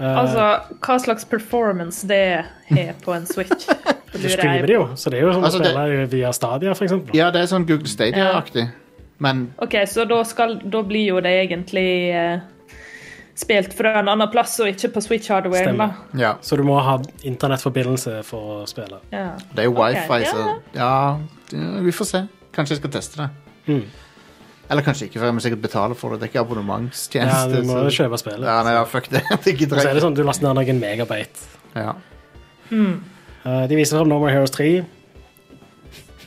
Eh. [LAUGHS]
Altså, hva slags performance det har på en Switch.
Du streamer det jo, så det er jo som
Altså,
å
det-
spille via Stadia, for eksempel.
Ja, det er sånn Google Stadia-aktig. Men
OK, så da, skal, da blir jo det egentlig eh, spilt fra en annen plass og ikke på Switch Hardware.
Stemmer.
Da.
ja,
Så du må ha internettforbindelse for å spille.
Ja.
det er jo
Ok,
wifi, så ja, det- vi får se. Kanskje jeg skal teste det.
Mm.
Eller kanskje ikke, for jeg må sikkert betale for det. Det er ikke
Ja,
abonnementstjeneste.
du må
så-
jo kjøpe spillet.
Ja, nei, ja, fuck det. [LAUGHS] det
Og
gidder
så er det
jeg ikke.
sånn, du laster ned noen megabyte.
Ja.
Eh, De viser fram No More Heroes 3,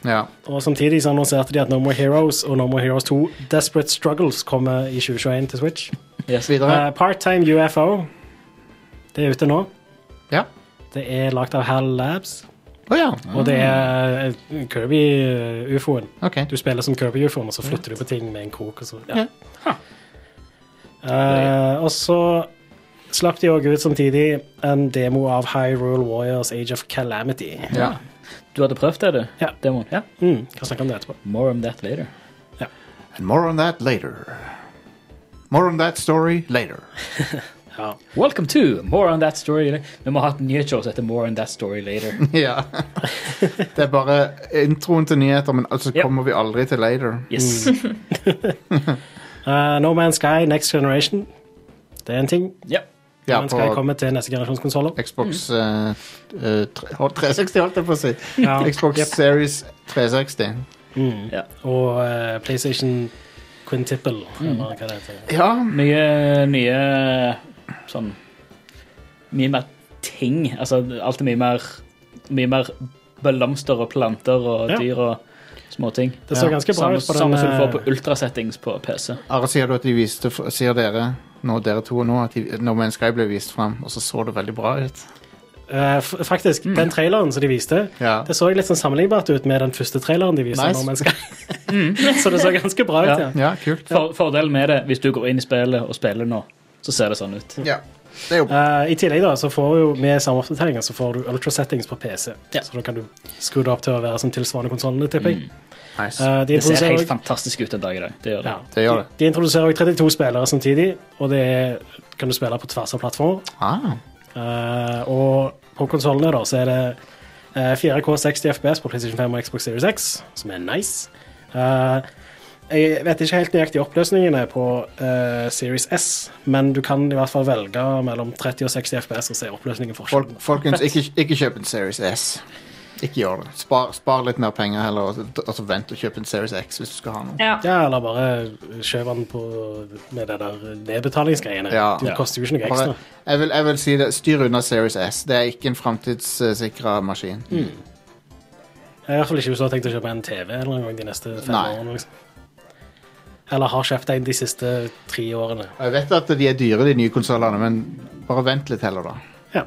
Ja.
og samtidig så annonserte de at No More Heroes og No More Heroes 2 Desperate Struggles kommer i 2021 til Switch.
Videre.
Eh, Part-time UFO. Det er ute nå.
Ja.
Det er lagd av HAL Labs,
Å ja.
og det er eh, Kirby-ufoen.
OK.
Du spiller som Kirby-ufoen, og så flytter du på ting med en krok. Og så, ja.
Ja.
Eh, og så slapp de òg ut samtidig en demo av Hyrule Warriors Age of Calamity.
Ja.
Du hadde prøvd det, du?
Ja.
Demoen? Ja.
Mm, kan snakke om det etterpå.
More on that later.
And more on that later. More on that story later.
Welcome to More on that story later. Vi må ha et nyhetsshow som heter More on that story
[LAUGHS]
later.
ja. Det er bare introen til nyheter, men altså
Ja.
kommer vi aldri til later.
Yes.
Mm.
Eh, no Man's Sky Next Generation. Det er en ting.
ja.
Ja,
no Man's Sky
på
kommer til neste generasjons konsoller.
Xbox eh, eh, tre- 360, holdt jeg på å si. Xbox
Yep.
Series 360.
Og eh, PlayStation Quintiple,
Mm.
eller hva det heter.
Ja.
Mye, mye sånn Mye mer ting. Altså, alt er mye mer Mye mer blomster og planter og
Ja.
dyr og småting.
Det så
Ja,
ganske bra
Samme,
ut på
samme som du får
den. eh,
på ultrasettings på PC.
Are, sier du at de viste f- Sier dere, nå, dere to nå, at de, No Man's Sky ble vist fram, og så så det veldig bra ut?
eh, eh, f- faktisk,
Mm.
den traileren som de viste,
Ja.
det så litt sånn sammenlignbart ut med den første traileren de viste.
Nice.
No Man's Sky.
Mm.
[LAUGHS] så det så ganske bra ut,
Ja.
ja.
Ja, kult.
For, fordelen med det, hvis du går inn i spillet og spiller nå, så ser det sånn ut.
Ja. Det er jo
Eh, I tillegg da, så får jo med samoppdateringer så får du ultra settings på PC.
Ja. Mm.
Så da kan du skru det opp til å være som tilsvarende konsollene, tipper jeg.
nice.
Eh, de
Det ser
introduserer
helt
også-
fantastisk ut en dag i dag. Det gjør det.
ja.
Det gjør det.
De introduserer også 32 spillere samtidig, og det er, kan du spille på tvers av plattformer.
Ah,
Eh, og på konsollene da, så er det eh, 4K 60 FPS på PlayStation 5 og Xbox Series X, som er nice. Eh, jeg vet ikke helt nøyaktig oppløsningene på eh, Series S, men du kan i hvert fall velge mellom 30 og 60 FPS og se oppløsningen
folk,
forskjellen.
folkens, ikke, ikke kjøp en Series S. Ikke gjør det. Spar, spar litt mer penger heller, og så- og så vent og kjøp en Series X hvis du skal ha noe.
Ja.
Ja, eller bare kjøp den på, med det der nedbetalingsgreiene.
Ja.
Det koster jo ikke noe
Bare,
ekstra.
jeg, vil, jeg vil si det, styr unna Series S. Det er ikke en framtidssikra maskin.
Mm. Jeg har i hvert fall ikke hvis du har tenkt å kjøpe en TV eller en gang de neste fem
Nei.
årene. Liksom. Eller har kjøpt en de siste tre årene.
Og Jeg vet at de er dyre, de nye konsollene, men bare vent litt heller, da.
Ja.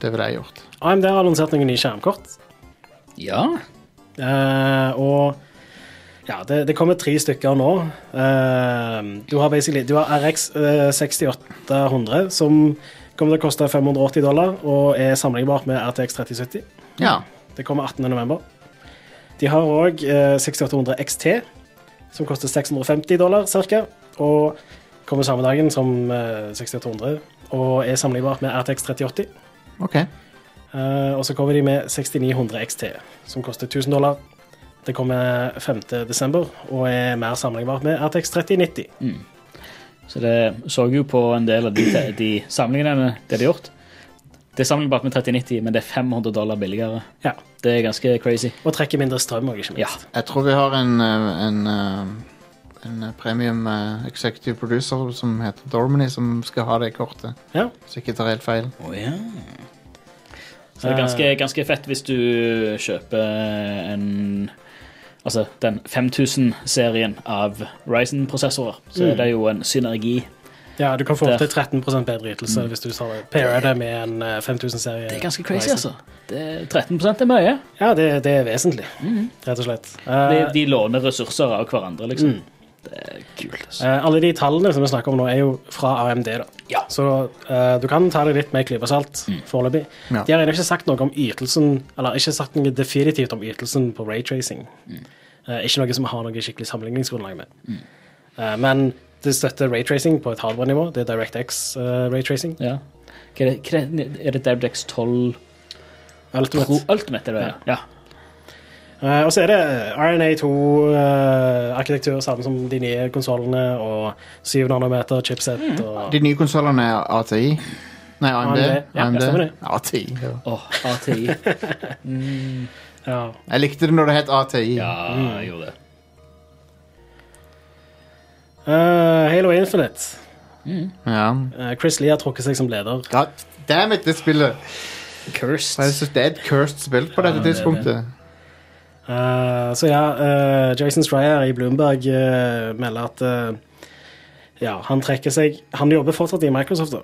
Det ville jeg gjort.
AMD har lansert noen nye skjermkort.
Ja.
Eh, og ja, det, det kommer tre stykker nå. Eh, du har basically Du har RX eh, 6800, som kommer til å koste 580 dollar og er sammenlignbart med RTX 3070.
Ja.
Det kommer 18. november. De har òg eh, 6800 XT, som koster 650 dollar ca. Og kommer samme dagen som eh, 6800 og er sammenlignbart med RTX 3080.
OK.
Eh, og så kommer de med 6900 XT, som koster 1000 dollar. Det kommer 5. desember og er mer sammenlignbart med RTX 3090.
Så det så jo på en del av de, de samlingene det de har gjort. Det er sammenlignbart med 3090, men det er 500 dollar billigere.
Ja.
Det er ganske crazy.
Og trekker mindre strøm òg, ikke minst.
Ja.
Jeg tror vi har en, eh, en, eh, en premium eh, executive producer som heter Dormany, som skal ha det kortet.
Ja.
Så ikke tar helt feil.
Så det er ganske, ganske fett hvis du kjøper en Altså den 5000-serien av Ryzen-prosessorer. Så er det jo en synergi.
ja, du kan få opp
Der.
til 13 bedre ytelse hvis du tar- pairer det med en eh, 5000-serie.
Det er ganske crazy, altså. Det, 13 er mye.
Ja, det, det er vesentlig,
Mhm.
rett og slett. Eh,
De, de låner ressurser av hverandre, liksom. Det er kult. altså.
eh, alle de tallene som vi snakker om nå, er jo fra AMD, da.
Ja. Mm.
Så eh, du kan ta det litt med en klype salt foreløpig.
Ja.
De har ennå ikke sagt noe om ytelsen, eller ikke sagt noe definitivt om ytelsen på raytracing.
Mm.
Eh, ikke noe som vi har noe skikkelig sammenligningsgrunnlag med. Eh, men det støtter raytracing på et hardware-nivå. Det eh,
Eh.
er DirectX uh, raytracing.
Ja. Hva er det, hva er det, er det DirectX 12
Ultimate.
Pro Ultimate er det, ja. ja.
Eh, og så er det RNA2-arkitektur, eh, samme som de nye konsollene, og 7 nanometer chipset.
Mm.
Og
De nye konsollene er ATI. Nei, AMD.
AMD, ja,
AMD.
stemmer det.
ATI. Ja.
Åh, ATI.
ja.
Jeg likte det når det het ATI.
[LAUGHS] Ja, jeg gjorde det.
Eh, Halo Infinite.
Ja.
Eh, Chris Lee har trukket seg som leder.
God damn it, det spillet! Det er
Cursed.
så- det er et cursed spill på dette
det er
tidspunktet.
Eh, så ja, eh, Jason Stryer i Bloomberg eh, melder at eh, ja, han trekker seg Han jobber fortsatt i Microsoft. da.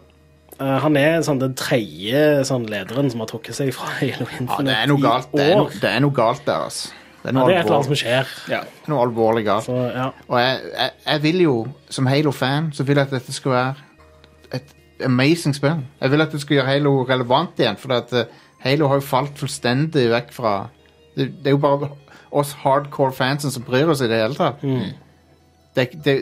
Eh, han er sånn, den tredje sånn, lederen som har trukket seg fra [LAUGHS] Halo
Ja,
Infinite
det er noe galt,
i
det er
år.
noe, det er noe galt der, altså. Det er
Ja,
noe,
det er et eller annet
alvorlig,
som skjer.
noe alvorlig galt.
Så, ja.
Og jeg, jeg, jeg vil jo, som Halo-fan, så vil jeg at dette skal være et amazing spill. Jeg vil at det skal gjøre Halo relevant igjen, for at eh, Halo har jo falt fullstendig vekk fra Det, det er jo bare oss hardcore fansen som bryr oss i det hele tatt. Det, det,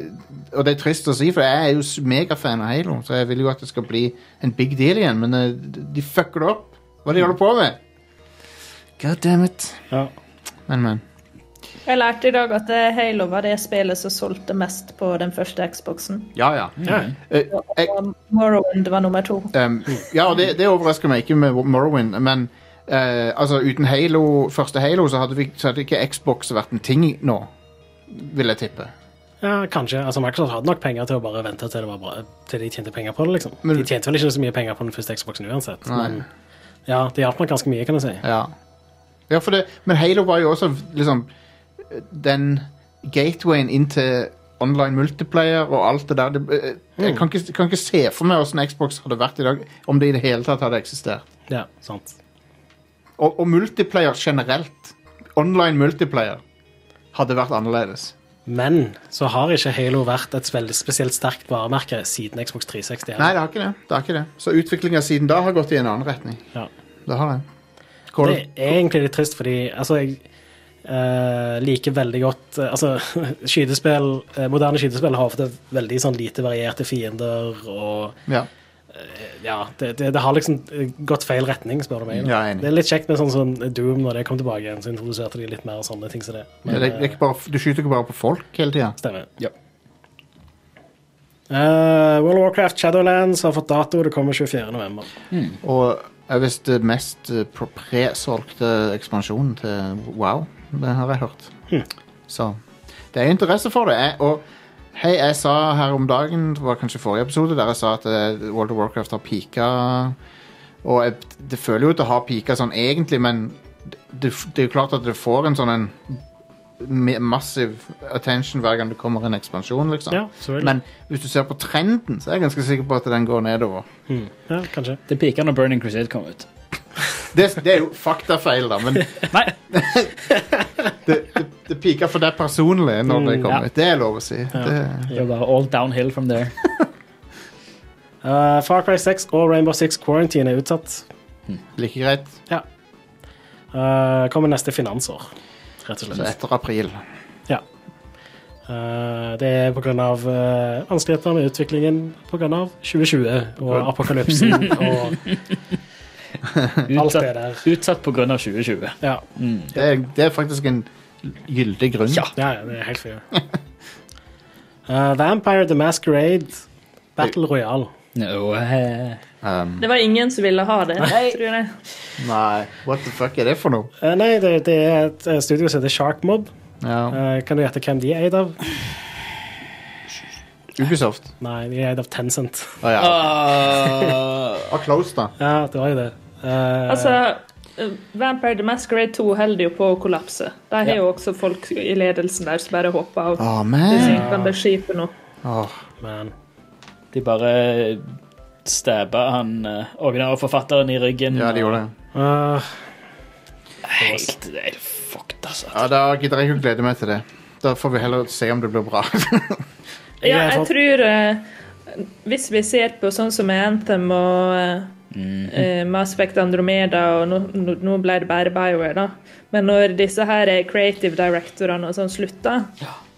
og det er trist å si, for jeg er jo s- megafan av Halo, så jeg vil jo at det skal bli en big deal igjen, men eh, de fucker det opp. Hva de holder på med? God damn it.
Ja.
Men, men.
Jeg lærte i dag at eh, Halo var det spillet som solgte mest på den første Xboxen.
Ja, ja.
Mm.
Eh, jeg-
Og Morrowind var nummer to.
Um, ja, og det, det overrasker meg ikke med Morrowind, men eh, altså uten Halo, første Halo så hadde, vi, så hadde ikke Xbox vært en ting nå, vil jeg tippe.
ja, kanskje. Altså, Microsoft hadde nok penger til å bare vente til, det var bra, til de tjente penger på det. liksom.
Men-
de tjente vel ikke så mye penger på den første Xboxen uansett. Men ja, det hjalp nok ganske mye, kan jeg si.
Ja, ja for det, men Halo var jo også liksom den gatewayen inn til online multiplayer og alt det der. Det, eh, jeg kan ikke, kan ikke se for meg hvordan Xbox hadde vært i dag, om det i det hele tatt hadde eksistert.
Ja, sant.
Og, og multiplayer generelt, online multiplayer, hadde vært annerledes.
Men så har ikke Halo vært et veldig spesielt sterkt varemerke siden Xbox 360.
Nei, det har ikke det. det, har ikke det. Så utviklinga siden da har gått i en annen retning.
Ja.
Det har det. Call,
Det er egentlig litt trist, fordi altså, jeg eh, liker veldig godt eh, Altså, [LAUGHS] skytespill, eh, moderne skytespill har ofte veldig sånn lite varierte fiender, og
ja.
ja, det, det, det har liksom eh, gått feil retning, spør du meg. da.
Ja, jeg er enig.
det er litt kjekt med sånn som Doom, når det kom tilbake igjen, så introduserte de litt mer sånne ting som det. eh,
det, det er ikke bare, du skyter ikke bare på folk hele tida.
Stemmer.
Ja.
Eh, World of Warcraft Shadowlands har fått dato, det kommer 24. november.
Og jeg visste mest eh, pro- presolgte ekspansjonen til Wow. Det har jeg hørt.
Hm.
Så det er interesse for det. Jeg, og hei, jeg sa her om dagen, det var kanskje forrige episode, der jeg sa at eh, World of Warcraft har pika. Og jeg, det føler jo at det har pika sånn egentlig, men det, det er jo klart at det får en sånn en me- massiv attention hver gang det kommer en ekspansjon, liksom.
Ja, selvfølgelig.
men hvis du ser på trenden, så er jeg ganske sikker på at den går nedover.
Ja, kanskje.
Det pika når Burning Crusade kom ut.
Det, det er jo faktafeil, da, men
Nei,
det pika for deg personlig når det kommer
ja.
ut. Det er lov å si. Det,
det var bare all downhill from there.
Eh, Far Cry 6 og Rainbow Six Quarantine er utsatt.
like greit.
Ja. Eh, kommer neste finansår, rett og
Så
slett.
etter april.
Ja. Eh, det er pga. Uh, vanskeligheter med utviklingen pga. 2020 og [LAUGHS] apokalypsen og alt det
Utsatt,
der.
utsatt på grunn av 2020.
Ja,
Det er, det er faktisk en gyldig grunn.
Ja.
ja, ja det er helt fair. Eh, Vampire the Masquerade Battle Royale.
No, eh,
Det var ingen som ville ha det, tror jeg.
Nei, what the fuck er det for noe?
Eh, nei, det, det er et eh, studio som heter Sharkmob.
Ja.
Eh, kan du gjette hvem de er eid av?
Ubisoft.
Nei, de er eid av Tencent.
Å ja. [LAUGHS] Ah, close, da.
Ja, det var jo det. Eh,
Altså, eh, Vampire the Masquerade 2 holder jo på å kollapse. De har jo også folk i ledelsen der som bare
Ah.
hopper av
Å,
det
man.
synkende skipet nå.
Åh,
men
de bare stabba han eh, originalforfatteren i ryggen.
ja, de gjorde det.
eh,
Helt, det er fucked, altså.
Ja, da gidder jeg ikke å glede meg til det. Da får vi heller se om det blir [LAUGHS] bra.
Ja,
Jeg er
jeg
for-
tror eh, Hvis vi ser på sånn som Anthem og eh, eh, Mass Effect Andromeda, og nå, nå- nå ble det bare Bioware, da. Men når disse her er creative directorene og sånn slutter,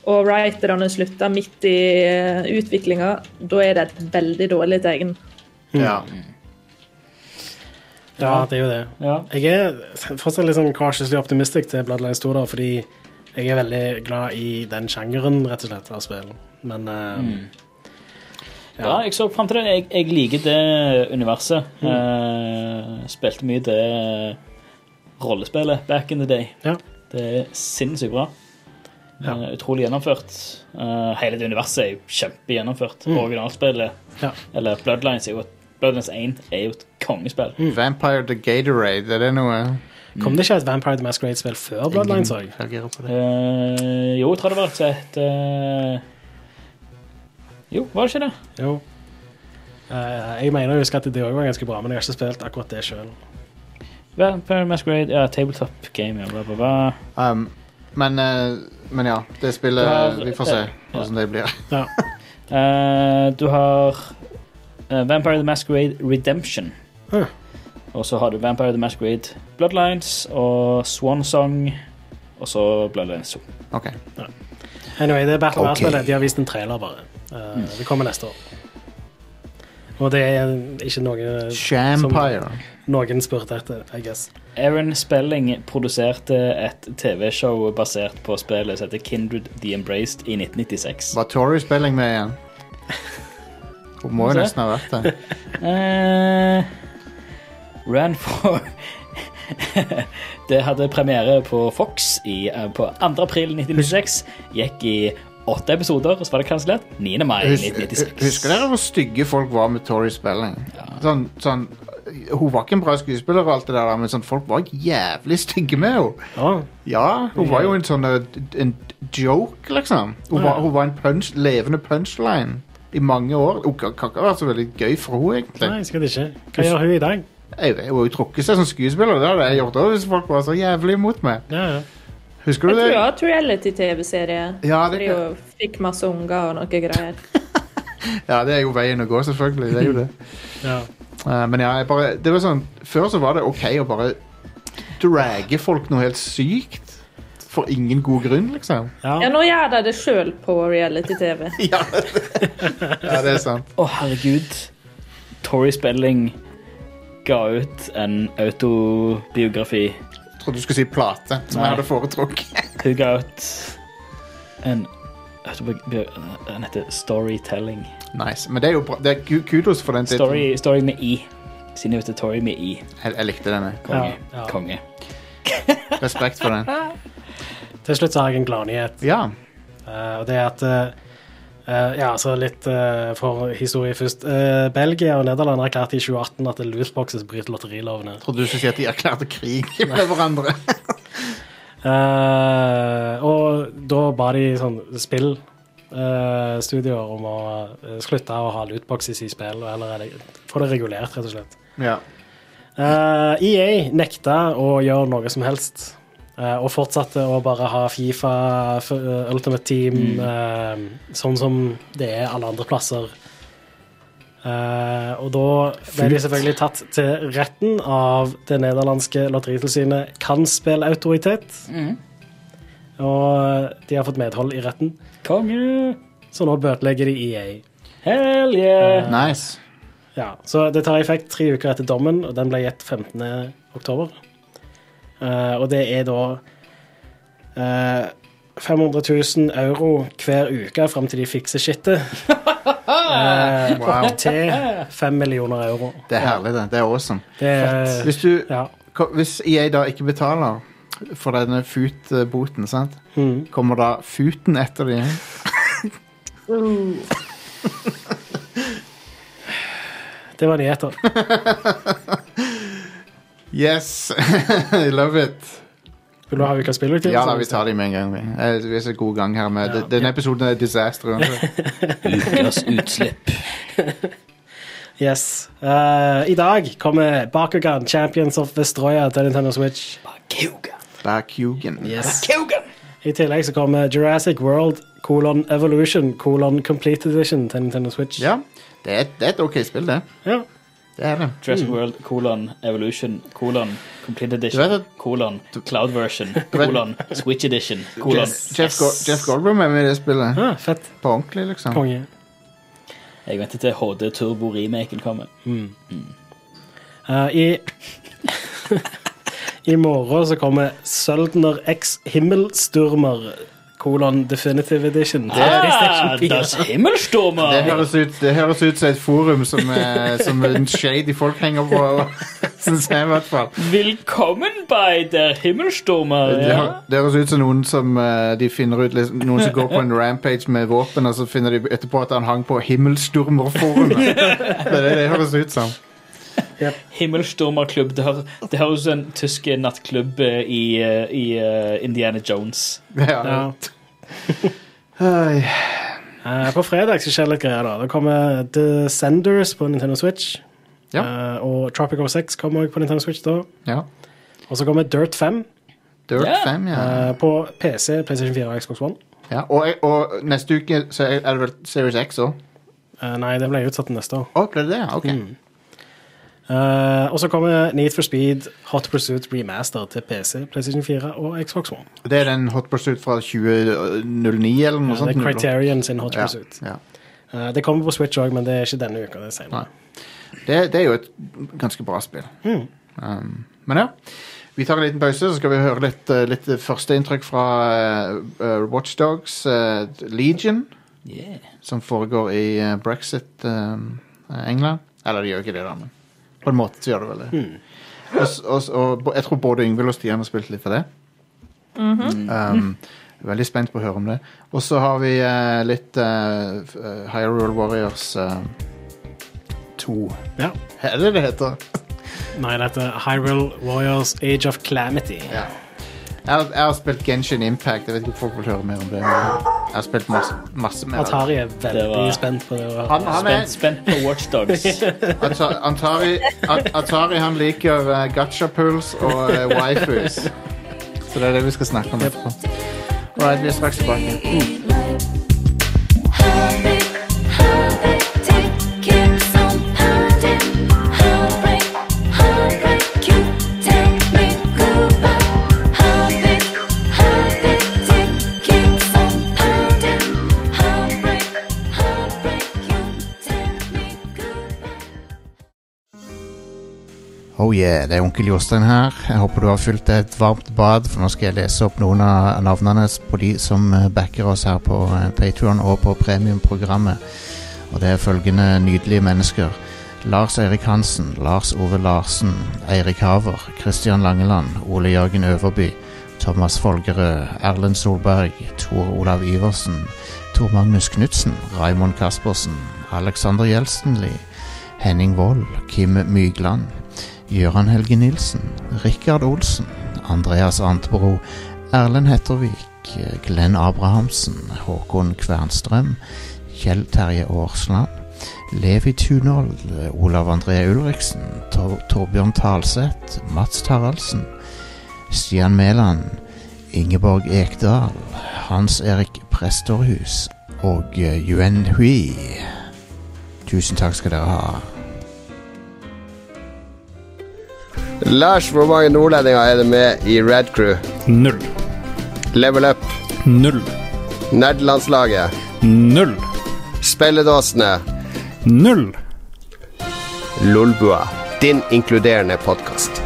og writerne slutter midt i uh, utviklinga, da er det et veldig dårlig tegn.
ja.
Ja, det er jo det.
Ja.
Jeg er fortsatt litt sånn cautiously optimistic til Bloodline 2, da, fordi jeg er veldig glad i den sjangeren, rett og slett, av spill. Men eh,
Ja, jeg så fram til det. Jeg, jeg liker det universet.
Mm.
Eh, spilte mye det rollespillet back in the day.
ja.
Det er sinnssykt bra.
Ja.
Eh, utrolig gjennomført. Eh, hele det universet er jo kjempegjennomført. Originalspillet,
Mm. Ja.
eller Bloodlines, er jo et, Bloodlines 1 er jo et kongespill.
Vampire the Gatorade, er det noe?
Kom det ikke et Vampire the Masquerade-spill før Bloodlines òg?
Reagerer på det.
Eh, jo, jeg tror det var et eh, Jo, var det ikke det?
Jo. Eh, jeg mener jeg husker at det òg var ganske bra, men jeg har ikke spilt akkurat det sjøl.
Vampire Masquerade, ja, tabletop game, ja, bla, bla, bla.
Um, men, eh, men ja, det spillet
Det er-
Vi får se hvordan det blir.
Ja.
Eh, du har eh, Vampire the Masquerade Redemption.
Huh.
Og så har du Vampire the Masquerade Bloodlines og Swan Song. Og så Bloodlines 2.
Ok.
Anyway, det er Battle
Ok.
Royale-spillet. De har vist en trailer, bare. Eh, Det kommer neste år. Og det er ikke noe
Shampire.
som noen spurte etter, I guess.
Aaron Spelling produserte et TV-show basert på spillet som heter Kindred the Embraced i 1996.
Var Tory spilling med igjen? Hun må jo
Se.
nesten ha
[LAUGHS]
vært det.
Eh, ran for [LAUGHS] Det hadde premiere på Fox i, eh, på 2. april 1996. Gikk i åtte episoder, og så var det kansellert 9. mai
Hus
1996.
husker dere hvor stygge folk var med Tory spilling? Sånn, sånn, hun var ikke en bra skuespiller, og alt det der, men sånn, folk var jævlig stygge med henne.
Ja,
Ja, hun var jo en sånn eh, en joke, liksom. Hun var, hun var en punch, levende punchline i mange år. Hun kan kan ikke ha vært så veldig gøy for henne, egentlig.
nei, sikkert ikke. Hva gjør hun i dag?
Jeg vet, Hun har jo trukket seg som skuespiller, det hadde jeg gjort òg hvis folk var så jævlig imot meg.
Ja, ja.
Husker
Jeg
du
tror
det?
jeg har hatt reality-TV-serie.
Ja, det
Fordi
kan-
hun fikk masse unger og noe greier.
Ja, det er jo veien å gå, selvfølgelig. Det er jo
[LAUGHS]
det.
ja.
Eh, men ja, jeg bare, det var sånn, før så var det ok å bare drage folk noe helt sykt. For ingen god grunn, liksom.
Ja, nå gjør de det sjøl på reality-TV.
Ja, ja det er sant.
Å, herregud. Tori Spelling ga ut en autobiografi.
Jeg trodde du skulle si plate, som
Nei.
jeg hadde
[LAUGHS]
foretrukket.
Hun ga ut en autobiografi Den heter Storytelling.
Nice, Men det er jo bra. Det er ku- kudos for den tittelen.
Story, story med I. Siden hun heter Tori med I.
Jeg, jeg likte denne.
Konge.
Ja, ja.
Konge.
Respekt for den.
Til slutt så har jeg en gladnyhet.
Ja.
eh, og det er at eh, eh, Ja, så litt eh, for historie først. Eh, Belgia og Nederland erklærte i 2018 at lootboxes bryter lotterilovene.
Trodde du skulle si at de erklærte krig med
[LAUGHS]
hverandre.
Eh, og da ba de sånn spillstudioer om å eh, slutte å ha lootboxes i spill, og heller reg- få det regulert, rett og slett.
Ja.
Eh, EA nekta å gjøre noe som helst, eh, og fortsatte å bare ha Fifa, F- eh, Ultimate Team, eh, sånn som det er alle andre plasser. Eh, og da ble de selvfølgelig tatt til retten av det nederlandske lotteritilsynet Kanspelautoritet. Og de har fått medhold i retten,
Konge!
så nå bøtelegger de E EA.
Hell yeah!
Nice.
Ja, så det tar effekt tre uker etter dommen, og den ble gitt 15. oktober. Eh, og det er da eh, 500 000 euro hver uke fram til de fikser skittet. Eh,
Wow.
opp til 5 millioner euro.
Det er herlig, det. Det er awesome.
Det er,
Hvis, du,
ja,
ko- hvis EA da ikke betaler for denne FUT-boten, sant? kommer da FUT-en etter dem?
det var nyheter.
Yes! [LAUGHS] I love it.
Vil du ha ukas spillutgivelse?
Ja da, vi tar dem med en gang. vi. Eh, Vi er så god gang her med det- Denne episoden er disaster. [LAUGHS] uansett.
Ukas utslipp.
Yes. Eh, I dag kommer Bakugan, Champions of Vestroya til Nintendo Switch.
Bakugan.
Back Hugen.
Bakugan.
I tillegg så kommer Jurassic World colon Evolution colon Complete Edition til Nintendo Switch.
Ja, det er, det er et ok spill, det.
Ja.
Det er det.
Jurassic World, kolon, Evolution, kolon, Complete
Mm. Du vet
Edition,
at-
kolon, Cloud
[LAUGHS]
Version,
vet-
kolon, Switch Edition, kolon.
Jeff, Jeff, Go- Jeff Goldblum er med i det spillet.
Ah, fett.
På ordentlig, liksom.
Konge.
Jeg venter til HD Turbo remaken kommer.
Eh, I [LAUGHS] I morgen så kommer Søldner X Himmelsturmer, kolon Definitive Edition. Det
Ah, das
Det
Himmelsturmer!
høres ut, det høres ut som et forum som, eh, som en shady folk henger på, [LAUGHS] syns jeg i hvert fall.
Velkommen bei der Himmelsturmer.
Det,
Ja.
hø- det høres ut som noen som eh, de finner ut liksom, Noen som går på en
[LAUGHS]
rampage med våpen, og så finner de etterpå at han hang på
[LAUGHS]
Himmelsturmerforumet. Det er det det høres ut som.
Himmelsturmerklubb. Det, hø- det høres ut som en tysk nattklubb eh, i, eh, i eh, Indiana Jones.
Ja.
Ja.
Hei.
Eh, På fredag så skjer litt greier. da Det kommer Descenders på Nintendo Switch.
Ja.
Eh, og Tropico 6 kommer også på Nintendo Switch da.
ja.
Og så kommer Dirt 5
Dirt
Ja.
5, ja.
eh, på PC, PlayStation 4 og Xbox One.
ja. Og, og neste uke så er det vel Series X òg?
Eh, nei, det ble utsatt til neste år.
Å, ble det det? ja? Ok.
Mm. Eh, og så kommer Need for Speed Hot Pursuit Remaster til PC, PlayStation 4 og Xbox One.
Det er den Hot Pursuit fra 2009 eller noe
Ja,
sånt?
Eh, det er Criterion sin Hot
Ja,
Pursuit.
ja.
Eh, det kommer på Switch òg, men det er ikke denne uka. Det er senere.
Nei. Det, det er jo et ganske bra spill. Um, men ja. Vi tar en liten pause, så skal vi høre litt, eh, litt førsteinntrykk fra eh, Watchdogs eh, Legion,
Yeah.
som foregår i eh, Brexit um, eh, England. Eller de gjør ikke det, da, men på en måte så gjør det vel det. Og, s- og, s- og, bo- jeg tror både Yngvild og Stian har spilt litt av det. um, veldig spent på å høre om det. Og så har vi eh, litt eh, f- eh, Hyrule Warriors eh, 2.
Ja.
Er det det heter?
Nei, dette er Hyrule Warriors Age of Clamity.
Ja. Jeg, har- jeg har spilt Genshin Impact. Jeg vet ikke om folk vil høre mer om det. Men jeg har spilt masse, masse mer. av det.
Atari er veldig
Det var-
spent på det. å høre.
Han, han
Spent,
er,
spent på
[LAUGHS]
Watchdogs.
Ata- Atari, At- Atari han liker uh, gacha-pools og uh, waifus. Så det er det vi skal snakke om etterpå. Alright, vi er straks tilbake. Oh yeah, det er onkel Jostein her. Jeg håper du har fylt deg et varmt bad, for nå skal jeg lese opp noen av navnene på de som eh, backer oss her på eh, Patreon og på premiumprogrammet. Og det er følgende nydelige mennesker. Lars Eirik Hansen, Lars Ove Larsen, Eirik Haver, Kristian Langeland, Ole Jørgen Øverby, Thomas Folgerød, Erlend Solberg, Tor Olav Iversen, Tor Magnus Knutsen, Raimond Kaspersen, Alexander Gjelstenli, Henning Wold, Kim Mygland, Gøran Helge Nilsen, Rikard Olsen, Andreas Antbro, Erlend Hettervik, Glenn Abrahamsen, Håkon Kvernstrøm, Kjell Terje Aarsland, Levi Tunold, Olav André Ulriksen, Tor Torbjørn Talseth, Mats Taraldsen, Stian Mæland, Ingeborg Ekdal, Hans Erik Prestorhus og eh, Yuen Hui. Tusen takk skal dere ha.
Lars, hvor mange nordlendinger er det med i Red Crew?
Null.
Level Up,
Null.
Nerdelandslaget,
Null.
Spelledåsene,
Null.
Lolbua. Din inkluderende podkast.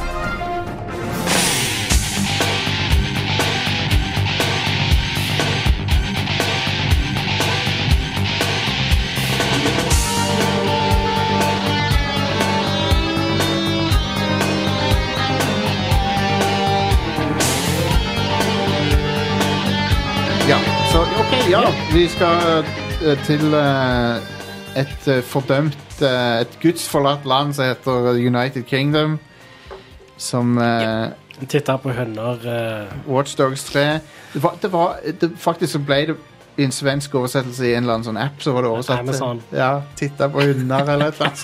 Ja, så ok, ja. Vi skal eh, til eh, et eh, fordømt eh, Et gudsforlatt land som heter United Kingdom. Som uh,
Titta på hønner eh,
Watchdogs 3 det var, det var, det, Faktisk så ble det i en svensk oversettelse i en eller annen sånn app. Så var det oversatt til-
Amazon.
Ja, Titta på hunder eller et eller annet.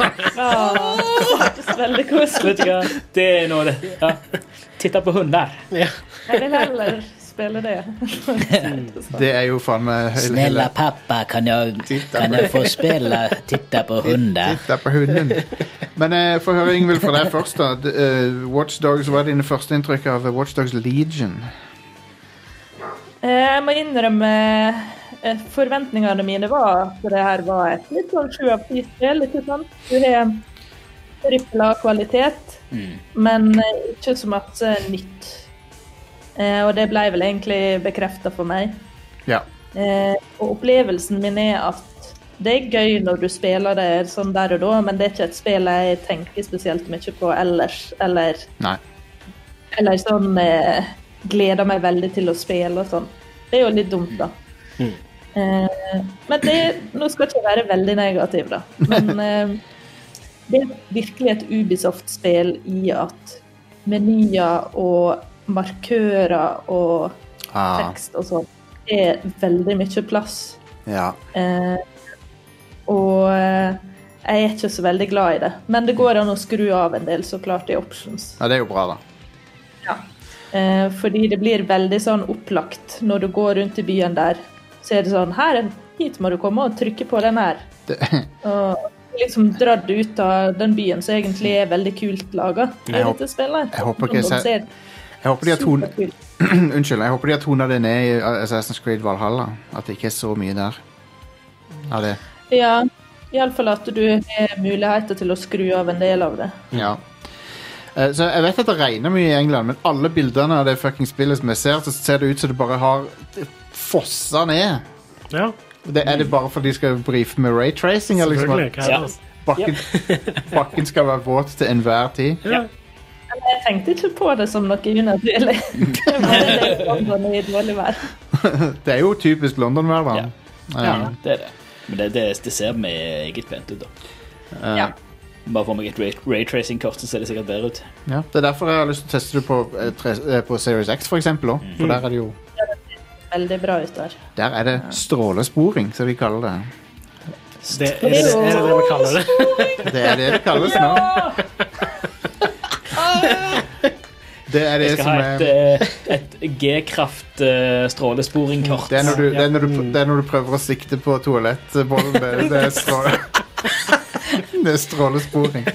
[LAUGHS] sånt.
Ah, Hørtes veldig koselig
Vet du hva? Det er noe det ja. Titta på hunder.
Jeg vil heller spille det.
Det er jo faen meg hele- hele-
pappa, kan jeg,
Titta kan på- jeg
få spille Titta på hunder?
Titta på hunden. Men eh, få høre, Ingvild, fra deg først. da D- eh, Watch Dogs, Hva er dine førsteinntrykk av Watchdogs Legion?
Eh, Jeg må innrømme eh, forventningene mine var at det her var et litt sånn sju av ti-spill. ikke sant? Du har trippel A-kvalitet,
Mm.
men eh, ikke så masse nytt. Eh, og det ble vel egentlig bekrefta for meg.
Ja.
Eh, og opplevelsen min er at det er gøy når du spiller det sånn der og da, men det er ikke et spill jeg tenker spesielt mye på ellers, eller,
Nei.
eller sånn eh, gleder meg veldig til å spille og sånn. Det er jo litt dumt, da.
Mm.
Eh, men det, nå skal jeg ikke være veldig negativ, da. Men eh, det er virkelig et Ubisoft-spill i at menyer og markører og
Ah.
tekst og sånn er veldig mye plass.
Ja.
Eh, og eh, jeg er ikke så veldig glad i det. Men det går an å skru av en del, så klart, i options.
ja, det er jo bra, da.
Eh, fordi det blir veldig sånn opplagt når du går rundt i byen der. Så er det sånn her, Hit må du komme og trykke på den her. Og liksom dratt ut av den byen som egentlig er veldig kult laga.
Jeg håp- jeg håper ikke jeg ser- [CLEARS THROAT] Jeg håper de har ton... [CLEARS THROAT] Unnskyld, jeg håper de har tonet det ned i eh, altså Assassin's Creed Valhalla. At det ikke er så mye der. Av det.
Ja, iallfall at du har muligheter til å skru av en del av det.
Ja. Eh, Så jeg vet at det regner mye i England, men alle bildene av det fucking spillet som jeg ser, så ser det ut som det bare har fossa ned.
Ja.
Det er det bare fordi de skal brife med raytracing? eller Liksom,
Selvfølgelig, hva er det,
at
altså?
bakken,
[LAUGHS]
bakken skal være våt til enhver tid?
Men jeg tenkte ikke på det som noe unaturlig. [LAUGHS] Det var en del London i dårlig vær.
det er jo typisk London-vær, da.
Ja, det er det. Men det, det, det ser meget pent ut, da.
Ja.
Bare får meg et ray- raytracing-kort, så ser det sikkert bedre ut.
Ja, det er derfor jeg har lyst til å teste det på, eh, tre, eh, på Series X, for eksempel. Også, for
Mm.
der er det jo
Veldig bra ut der.
Der er det strålesporing, som de kaller det.
Det er det er det, det vi kaller
[LAUGHS]
det.
Det er det det kalles nå. Det er det
Jeg skal
som
ha
er
et, eh, et G-kraft eh, strålesporing-kort.
det er, når du, det, er når du, det er når du prøver å sikte på toalettbollen. Det, det, er stråle, [LAUGHS] det er strålesporing.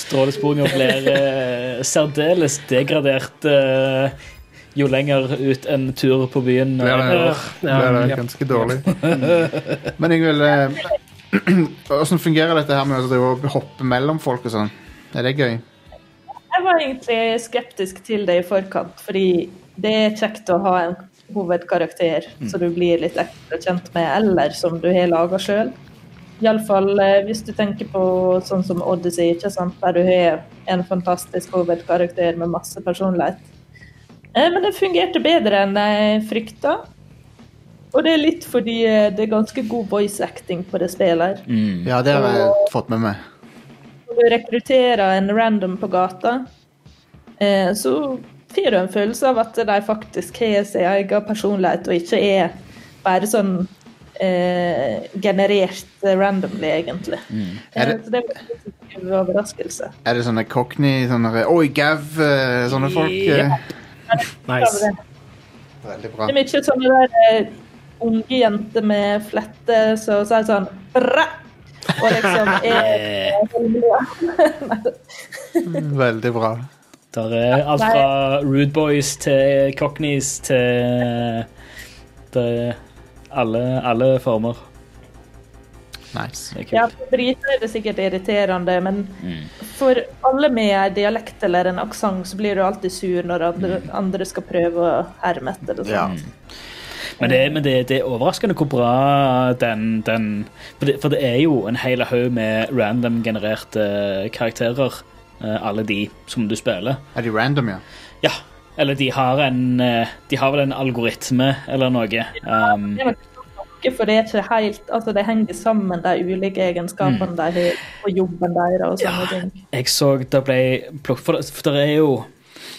Strålesporinger blir eh, særdeles degradert eh, jo lenger ut en tur på byen. Eh,
Det er, det, det
Ja.
er ganske dårlig. Men Ingvild, eh, [CLEARS THROAT] åssen fungerer dette her med å drive og hoppe mellom folk og sånn? Er det gøy?
Jeg var egentlig skeptisk til det i forkant, fordi det er kjekt å ha en hovedkarakter
Mm.
som du blir litt ekstra kjent med, eller som du har laga sjøl. Iallfall eh, hvis du tenker på sånn som Odyssey, ikke sant? der du har en fantastisk hovedkarakter med masse personlighet. Eh, Men det fungerte bedre enn jeg frykta. Og det er litt fordi eh, det er ganske god voice acting på det spillet. her.
Ja, det har jeg fått med meg.
Når du rekrutterer en random på gata, eh, så får du en følelse av at de faktisk har sin egen personlighet, og ikke er bare sånn eh, generert randomly, egentlig.
Mm. Er det-
Eh, så det var en positiv overraskelse.
Er det sånne cockney, sånne Oi, gav, eh, sånne folk? eh?
Nice.
Veldig
Det
bra.
er mye sånne der eh, unge jenter med flette som sier sånn Bra! Og liksom
[LAUGHS]
Eh,
[LAUGHS] er
Veldig bra.
Der er alt fra Rude Boys til Cockneys til, til alle, alle former.
Nice.
Det er kult. Mm.
Ja, for briter er det sikkert irriterende, men for alle med en dialekt eller en aksent, så blir du alltid sur når andre,
Mm.
andre skal prøve å herme etter det. sant?
Men, det, er- men det, det er overraskende hvor bra den, den for, det, for det er jo en hel haug med random-genererte karakterer, eh, alle de som du spiller.
Er de random, ja?
Ja. Eller de har en eh, De har vel en algoritme eller noe. Um,
Det er nok noe, For det er ikke helt Altså, det henger sammen, de ulike egenskapene
Mm.
de har, og jobben deres og sånne ting.
Jeg så det ble plukket For, det- for det er jo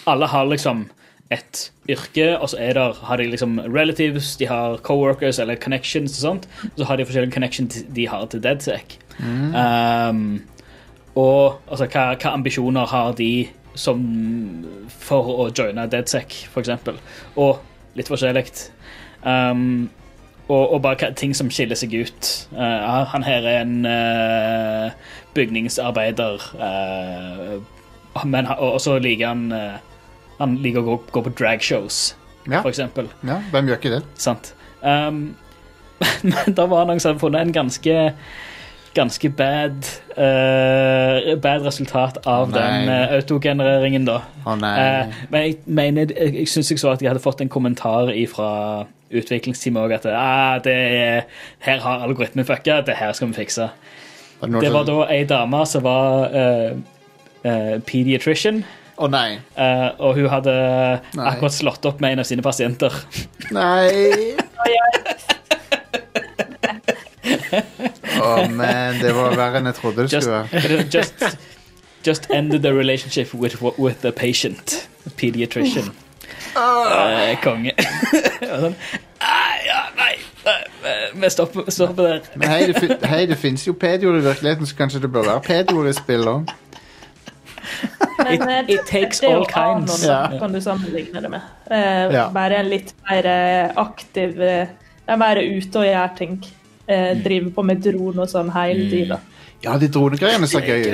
Alle har liksom et yrke, og så er der, har de liksom relatives, de har coworkers eller connections og sånt. Og så har de forskjellige connections de har til DedSec.
Mm.
Um, og altså, hva, hva ambisjoner har de som for å joine DedSec, for eksempel? Og litt forskjellig. Um, og, og bare hva- ting som skiller seg ut. Eh, ah, han her er en eh, bygningsarbeider, eh, men ha- og og så liker han eh, Han liker å gå, gå på dragshows,
Ja.
for eksempel.
Ja, hvem gjør ikke det?
[LAUGHS] Sant. Um, men da var noen som hadde funnet en ganske ganske bad eh, Bad resultat av
Å, nei.
den eh, autogenereringen, da.
Å nei.
Eh, men jeg mener, jeg, jeg syns jeg så at jeg hadde fått en kommentar fra utviklingsteamet òg at ah, det er, her har algoritmen fucka, det her skal vi fikse.
det noen
Det var
som-
da ei dame som var eh, eh, pediatrician. eh,
Å nei.
og hun hadde
Nei.
akkurat slått opp med en av sine pasienter.
Nei. Å, man, det var verre enn jeg trodde det
Just,
skulle være.
[LAUGHS] just, just ended the relationship with, with the patient. Pediatrician.
Ah.
Eh, konge. [LAUGHS] Og sånn, «Ah, ja, nei, eh, vi stopper, stopper der.
Men hei, det, fin hei, det finnes jo pedoer i virkeligheten, så kanskje det bør være pedoer i spillet òg.
Men eh, det-
takes
det er jo
all kinds.
Anon, da,
Ja.
kan du sammenligne det med. Eh,
Ja.
Bare en litt mer eh, aktiv eh, De er mer ute og gjør ting. Eh,
Mm.
driver på med dron og sånn hele tida.
Ja, de dronegreiene ser gøy ut.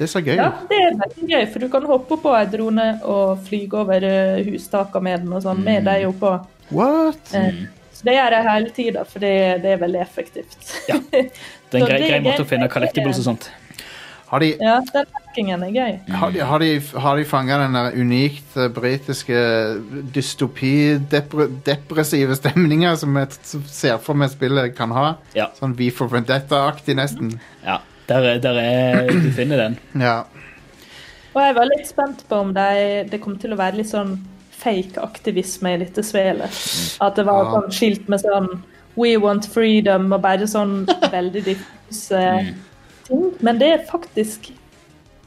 Det ser gøy
Ja,
ut.
det er veldig gøy, for du kan hoppe på ei drone og fly over eh, hustakene med den og sånn,
Mm.
med deg oppå.
What?
Eh, Så det gjør jeg hele tida, for det, det er veldig effektivt.
Det er en
[LAUGHS] Så
grei,
det-
grei måte
det-
å finne collectibles og sånn. sånt.
Har de,
Ja, den hackingen er gøy.
har de, har de, har de fanga den der unikt eh, britiske dystopi-depressive stemninga som jeg t- som ser for meg spillet kan ha?
Ja.
Sånn V for Vendetta-aktig, nesten.
Ja, der, er- der er Du finner den.
Ja.
Og jeg var litt spent på om de, det kom til å være litt sånn fake aktivisme i dette svelet. At det var
Ja.
sånn skilt med sånn We want freedom og
[LAUGHS]
bare sånn veldig diffuse
Mm.
ting. Men det er faktisk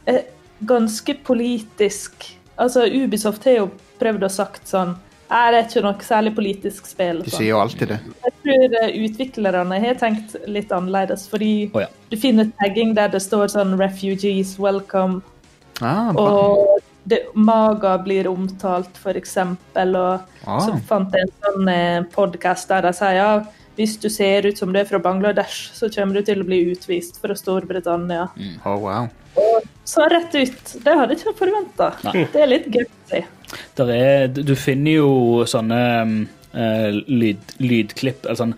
eh, ganske politisk. Altså, Ubisoft har jo prøvd å sagt sånn Nei, det er ikke noe særlig politisk spill.
De
sånn.
sier jo alltid det.
Jeg tror eh, utviklerne har tenkt litt annerledes, fordi
Å ja.
du finner tagging der det står sånn 'Refugees welcome',
Ah, bra.
[LAUGHS]
og det, maga blir omtalt, for eksempel. Og
Ah.
så fant jeg en sånn eh, podcast der de sier ja, hvis du ser ut som du er fra Bangladesh, så kommer du til å bli utvist fra Storbritannia.
Mm.
Oh, wow.
Så rett ut. Det hadde jeg ikke forventa.
Nei.
Det er litt gutsy.
Der er, du- du finner jo sånne um, eh, lyd, lydklipp eller sånn,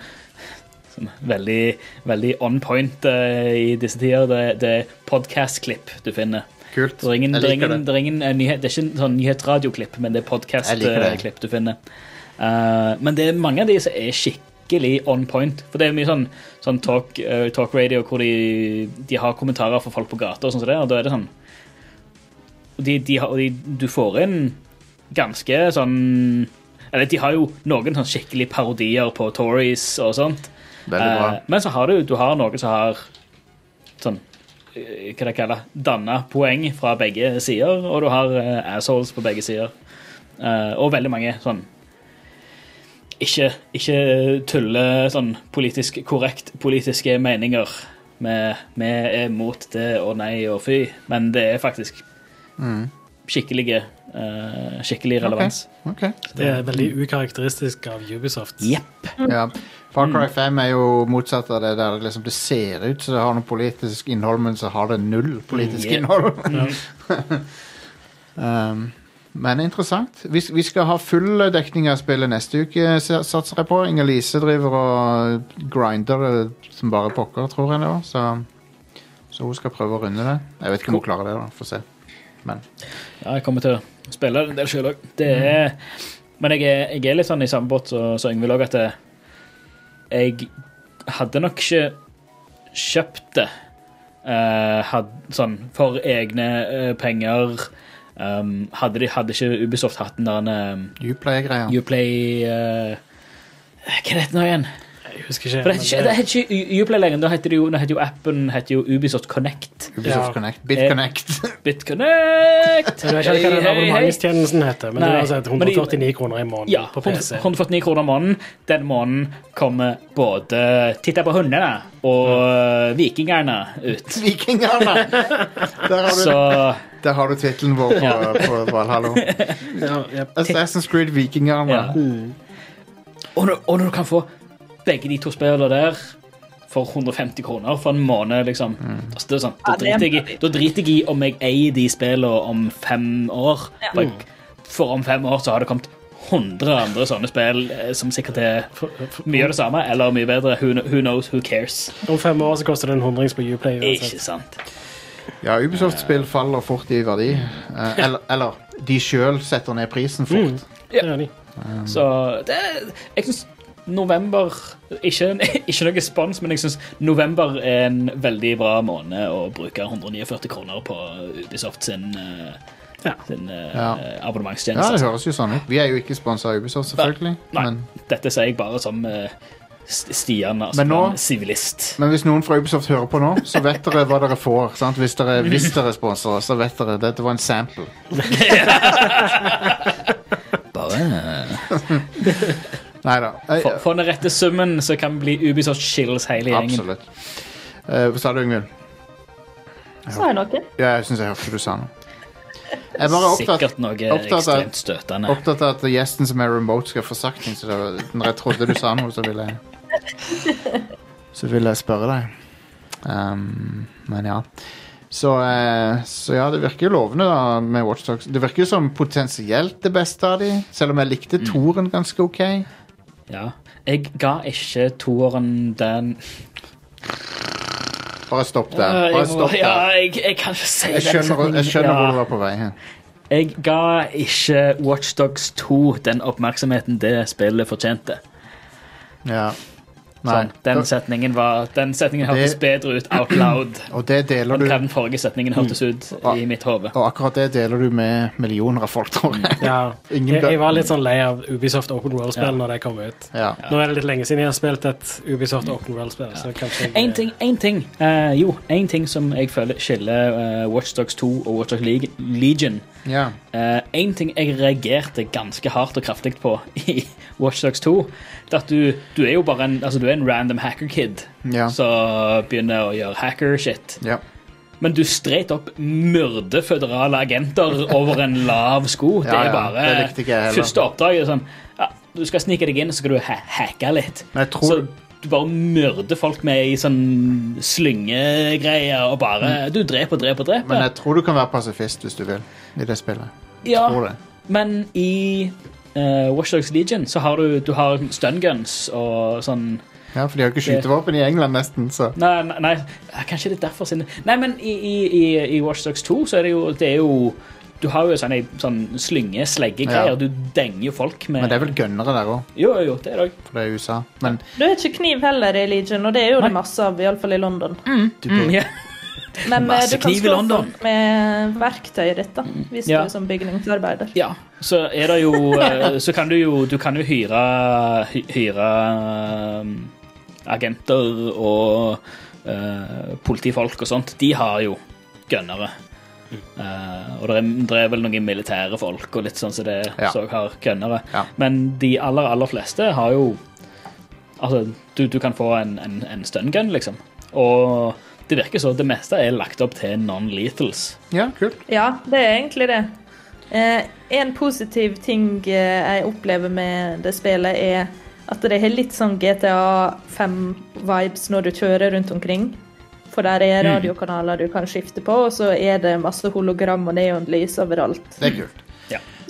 sånn veldig, veldig on point eh, i disse tider. Det, det er podcast-klipp du finner.
Kult.
Det er ingen,
Jeg
det er
liker
ingen, det er ingen eh, nyhet, det er ikke en sånn nyhetsradioklipp, men det er
Jeg liker det.
podcast-klipp du finner. Eh, men det er mange av de som er skikkelig on point. For det er mye sånn, sånn talk, eh, talk radio hvor de, de har kommentarer fra folk på gata og sånn som det, og da er det sånn og de, de, har- og de, Du får inn ganske sånn Eller de har jo noen sånn skikkelig parodier på Tories og sånt.
Veldig bra.
Eh, men så har du, du har noen som har sånn eh, Hva det kaller Danna poeng fra begge sider, og du har eh, assholes på begge sider. Eh, og veldig mange sånn ikke, ikke tulle sånn politisk korrekt politiske meninger. Vi vi er mot det og nei og fy, men det er faktisk
Mm.
skikkelige eh, skikkelig relevans.
Ok.
Det er veldig ukarakteristisk av Ubisoft.
Jepp.
Ja. Far Cry 5 er jo motsatt av det der liksom, det ser ut som det har noe politisk innhold, men så har det null politisk
Mm, yeah.
innhold. [LAUGHS] um, men interessant. Vi, vi skal ha full dekning av spillet neste uke, s- satser jeg på. Inger-Lise driver og grinder eh, som bare pokker, tror jeg det var. Så, så hun skal prøve å runde det. Jeg vet ikke om hun klarer det, da. Får se. Men
Ja, jeg kommer til å spille en del sjøl òg.
Mm.
Men jeg er, jeg er litt sånn i samme båt som så Yngvild òg, at det- jeg hadde nok ikke kjøpt det eh, had, sånn for egne eh, penger. Um, hadde, de, hadde ikke Ubisoft hatt den der um,
Uplay-greia.
Uplay eh, Hva er det nå igjen?
Jeg husker ikke.
For det
men
heter ikke, det heter ikke U- Uplay lenger. Da heter det jo, nå heter jo appen heter jo Ubisoft Connect.
Ubisoft
Ja.
Connect. BitConnect. [LAUGHS]
Eh. BitConnect!
Jeg vet
Hei,
ikke hva den
hei, hei.
abonnementstjenesten heter, men det
Nei,
er altså et
men de-
149 kroner i måneden
Ja,
på PC.
149 kroner måneden. Den måneden kommer både Titta på hundene og eh, vikingene ut.
Vikingene! Der har du [LAUGHS] det.
Så
Der har du tittelen vår på, på Valhalla. Assassin's Creed Vikingene.
Ja. Og når, og når du kan få begge de to spillene der for 150 kroner for en måned, liksom. Da, er det sånn, da,
Ja, det er
driter jeg, i- da driter jeg i om jeg eier de spillene om fem år. Bare, for om fem år så har det kommet 100 andre sånne spill eh, som sikkert er mye av det samme, eller mye bedre. Who, kn- who knows, who cares?
Om fem år så koster det en hundrings på Uplay.
Ikke sant.
Ja, Ubisoft-spill faller fort i verdi. Eh, eller, eller de sjøl setter ned prisen
Mm.
fort.
Ja. Så det, jeg syns november ikke, [LAUGHS] ikke noe spons, men jeg syns november er en veldig bra måned å bruke 149 kroner på Ubisoft sin, eh, sin eh,
Ja. Ja,
abonnementstjeneste.
det høres jo sånn ut. Vi er jo ikke sponsa av Ubisoft, selvfølgelig.
Nei,
Men,
dette sier jeg bare som eh, St- Stian, altså
Men nå-
en sivilist.
men hvis noen fra Ubisoft hører på nå, så vet dere hva dere får. Sant? Hvis
[LAUGHS]
dere, hvis dere sponser oss, så vet dere. Dette var en sample.
Bare
Nei da.
eh,
Eh,
For, for den rette summen så kan vi bli Ubisoft Shills hele gjengen.
Absolutt. Eh, Hva sa du, Yngvild?
Sa jeg noe?
Ja, jeg syns jeg hørte du sa noe. Jeg er bare opptatt,
Sikkert noe
opptatt, av,
ekstremt støtende.
opptatt av at gjesten som er remote, skal få sagt ting. Så det, var- når jeg trodde du sa noe, så ville jeg [LAUGHS] Så ville jeg spørre deg. Ehm, men ja. Så, eh, så ja, det virker jo lovende da med Watchdogs. Det virker jo som potensielt det beste av de, selv om jeg likte
Mm.
toren ganske ok.
Ja. Jeg ga ikke toeren den
Bare stopp
Ja,
der. Bare
jeg, må,
stopp
ja,
der.
jeg, jeg kan ikke si
Jeg skjønner, jeg skjønner hvor du var på vei hen.
Jeg ga ikke Watchdogs 2 den oppmerksomheten det spillet fortjente.
Ja.
Sånn, den setningen var Den setningen hørtes
Det-
bedre ut out
[CLEARS THROAT]
loud
Og det deler
enn
du Mm. Ah.
hva den forrige setningen hørtes ut i mitt hode.
Og akkurat det deler du med millioner av folk, tror jeg.
Ja.
Ingen
Jeg,
dø-
jeg var litt sånn lei av Ubisoft Open World-spill
Ja.
når det kom ut.
Ja.
Nå er det litt lenge siden jeg har spilt et Ubisoft Open World-spill, så kanskje jeg
En ting, en ting eh, Jo, en ting som jeg føler skiller eh, Watch Dogs 2 og Watchdogs Legion.
Ja.
Eh, en ting jeg reagerte ganske hardt og kraftig på [LAUGHS] i Watchdogs 2, det er at du, du er jo bare en, altså, du er en random hacker-kid
Ja.
som begynner å gjøre hacker-shit.
Ja.
Men du streit opp myrder føderale agenter over en lav sko.
[LAUGHS]
Det
Ja,
er
ja,
bare
det likte ikke jeg heller.
første oppdrag. er Sånn, ja, du skal snike deg inn, så skal du ha hacke litt.
Men jeg tror-
Så du bare myrder folk med i sånn slyngegreier og bare Du dreper, dreper,
Mm.
dreper.
Men jeg tror du kan være pasifist hvis du vil i det spillet.
Ja,
tror det.
men i uh, Watch Dogs Legion så har du, du har stun guns og sånn
Ja, For de har ikke skytevåpen i England, nesten. så
Nei, nei, nei eh, kanskje det er derfor sin Nei, men i, i, i, i Watch Dogs 2 så er det jo, det er jo Du har jo sånne sånn slynge-slegge-greier.
Ja.
Du denger jo folk med
Men det er vel gønnere der òg,
Jo, jo, jo, det er
[LAUGHS]
det òg.
for det er USA. Men
Du er ikke kniv heller i Legion, og det er jo det masse av, iallfall i London.
du bør
ja.
Men eh,
Masse
du kan
kniv i
slå
London.
folk med verktøyet ditt, da, hvis
Ja.
du er som bygningsarbeider.
Ja. Så er det jo eh, Så kan du jo Du kan jo hyre hy- Hyre um, agenter og eh, politifolk og sånt. De har jo gønnere.
Mm.
Eh, og det er, det er vel noen militære folk og litt sånn som det
Ja.
som har gønnere.
Ja.
Men de aller, aller fleste har jo Altså, du, du kan få en, en, en stun gun, liksom. Og det virker så. Det meste er lagt opp til non-lethals.
ja, kult.
Ja, det er egentlig det. Eh, en positiv ting eh, jeg opplever med det spillet, er at det har litt sånn GTA 5-vibes når du kjører rundt omkring. For der er
Mm.
radiokanaler du kan skifte på, og så er det masse hologram og neonlys overalt.
Det er kult.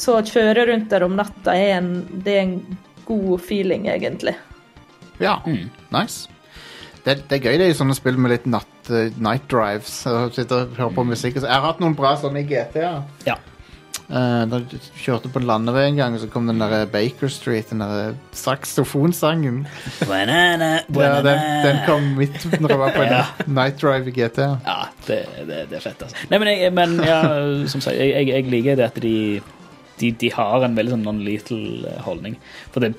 Så å kjøre rundt der om natta er en, det er en god feeling, egentlig.
Ja, nice. Det, det er gøy det i sånne spill med litt natt, eh, night drives. og Sitte og høre på musikk. og så- Jeg har hatt noen bra sånne i GTA.
Ja.
Eh, da jeg kjørte på landevei en gang, og så kom den der eh, Baker Street, den der saksofonsangen.
Banana,
Ja, den,
banana.
den kom midt når jeg var på en
eh? Ja.
night drive i GTA.
Ja, det, det, det er fett, altså. Nei, men, jeg, men ja, som sagt, jeg, jeg, jeg liker det at de, de, de har en veldig sånn non-lethal holdning. For det,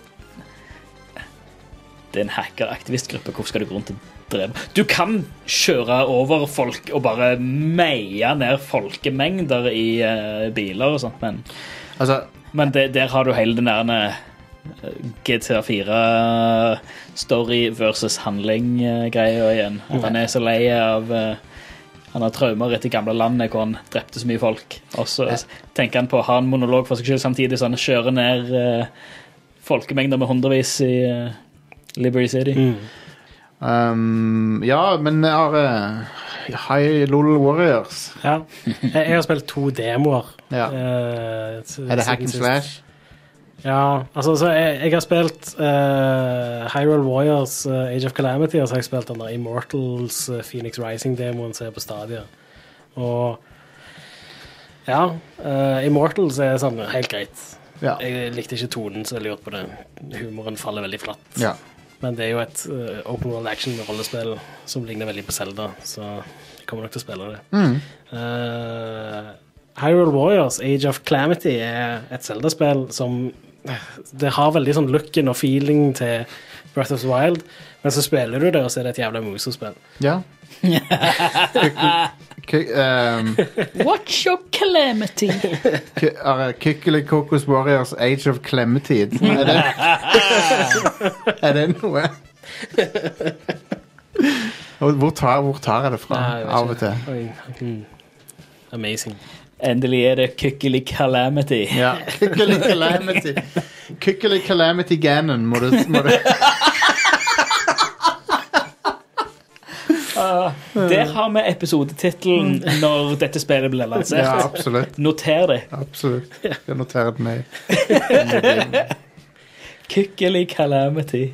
det er en hacker-aktivistgruppe. Hvorfor skal du gå rundt og drepe Du kan kjøre over folk og bare meie ned folkemengder i eh, biler og sånt, men,
Altså,
men det, der har du hele den der eh, GTA 4-story eh, versus handling-greia igjen. At han er så lei av eh, Han har traumer etter gamle landet hvor han drepte så mye folk. Og så tenker han på å ha en monolog for seg selv samtidig så han kjører ned eh, folkemengder med hundrevis i eh, Liberty City.
Mm. Um, ja, men jeg har eh, High LOL Warriors.
Ja. Jeg, jeg har spilt to demoer.
Ja.
eh, s-
Er det
siden
hack and
sist.
slash?
Ja, altså så jeg, jeg har spilt eh, Hyrule Warriors eh, Age of Calamity, og så har jeg spilt den der Immortals eh, Phoenix Rising-demoen som er på Stadia. Og ja, eh, Immortals er sånn helt greit.
Ja.
Jeg likte ikke tonen, så jeg lurte på det. Humoren faller veldig flatt.
Ja.
Men det er jo et eh, open world action-rollespill som ligner veldig på Zelda, så jeg kommer nok til å spille det.
Mm.
Eh, Hyrule Warriors Age of Clamity er et Zelda-spill som eh, Det har veldig sånn looken og feeling til Breath of the Wild, men så spiller du det, og så er det et jævla musespill. [LAUGHS]
Ja. K- ehm,
Watch your calamity.
k- er det Kykelikokos Warriors Age of Klemmetid. Er
[LAUGHS]
det, er det noe? Og Hvor tar, hvor tar jeg det fra
Nei, jeg vet
av og
ikke.
til?
Oi, mm. Amazing.
Endelig er det Kykkeli Calamity.
Ja. Kykkeli Calamity. Kykkeli Calamity Ganon må du, må
[LAUGHS]
du
Ah, der har vi episodetittelen når dette spillet ble
Mm.
lansert.
Ja, absolutt.
Noter det.
Absolutt. Jeg noterer det ned.
Kykkeli Calamity.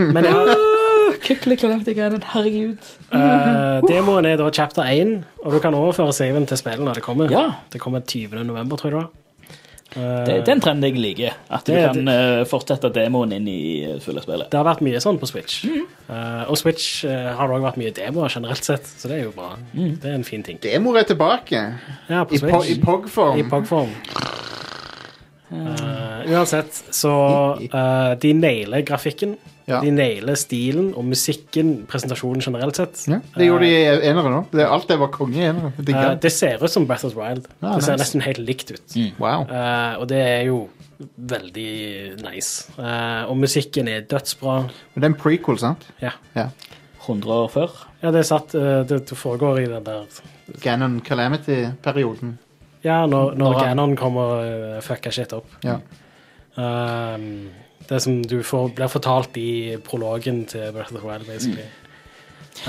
Men jeg har
Ah, Kykkeli Calamity Ganon, herregud.
Eh, demoen er da chapter 1, og du kan overføre saven til spillet når det kommer.
Ja.
Det kommer 20. november, tror jeg det var. Eh,
Det, det er en trend jeg liker. At du
Det-
kan eh, fortsette demoen inn i eh, fulle spillet.
det har vært mye sånn på Switch. Eh, og Switch eh, har det også vært mye demoer generelt sett, så det er jo bra. Det er en fin ting.
Demor er tilbake.
Ja, på
I, po
Switch.
i Pog-form.
I Pog-form. Eh, uansett, så eh, de nailer grafikken.
Ja.
De nailer stilen og musikken, presentasjonen generelt sett.
Ja, det gjorde de i enere nå. Det, alt det var konge i enere. Det
Eh,
digger jeg.
det ser ut som Breath of the Wild.
Ah,
det ser
nice.
nesten helt likt ut.
Wow.
Eh, og det er jo veldig nice. Eh, og musikken er dødsbra.
Men det er en prequel, sant?
Ja,
100 år før.
ja det er satt eh, det, det foregår i den der
Ganon Calamity-perioden.
Ja, når, når
Når han-
Ganon kommer og eh, fucker shit opp.
Ja.
Um, det som du får, blir fortalt i prologen til Breath of the Wild, basically. Eh,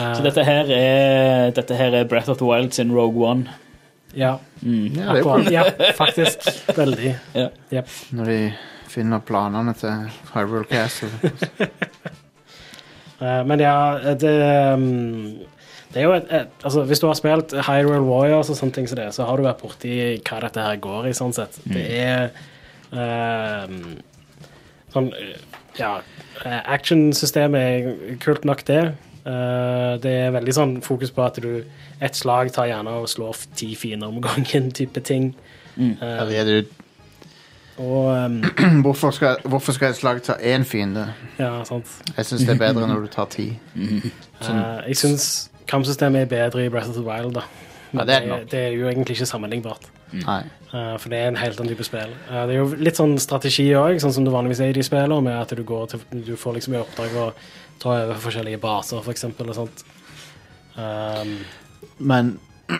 Mm. Så dette her er, dette her er Breath of the Wild sin Rogue One.
Eh, Ja,
Ja, det er jo
akkurat.
konge.
Ja, faktisk. Veldig.
Ja.
Jep.
Når de finner planene til Hyrule
[LAUGHS]
Castle.
Eh, Men ja, det um, Det er jo et, et Altså, hvis du har spilt Hyrule Warriors og sånne ting som det, så har du vært borti hva dette her går i, sånn sett. Det
Mm.
er um, Sånn eh, Ja, eh, actionsystemet er kult nok, det. Eh, det er veldig sånn fokus på at du ett slag tar gjerne og slår ti fiender om gangen, [LAUGHS] type ting.
Her er det [CLEARS THROAT] jo-
Og um,
Hvorfor skal, hvorfor skal et slag ta én fiende?
Ja, sant.
Jeg syns det er bedre når du tar ti. Sånn.
Eh, jeg syns kampsystemet er bedre i Breath of the Wild, da. Men
Ja, det er det
det,
nok.
det er jo egentlig ikke sammenlignbart.
Nei.
Eh, for det er en helt annen type spill. Eh, det er jo litt sånn strategi òg, sånn som det vanligvis er i de spillene, med at du, går til, du får liksom i oppdrag å ta over forskjellige baser, for eksempel, og sånt. Um,
Men [CLEARS THROAT]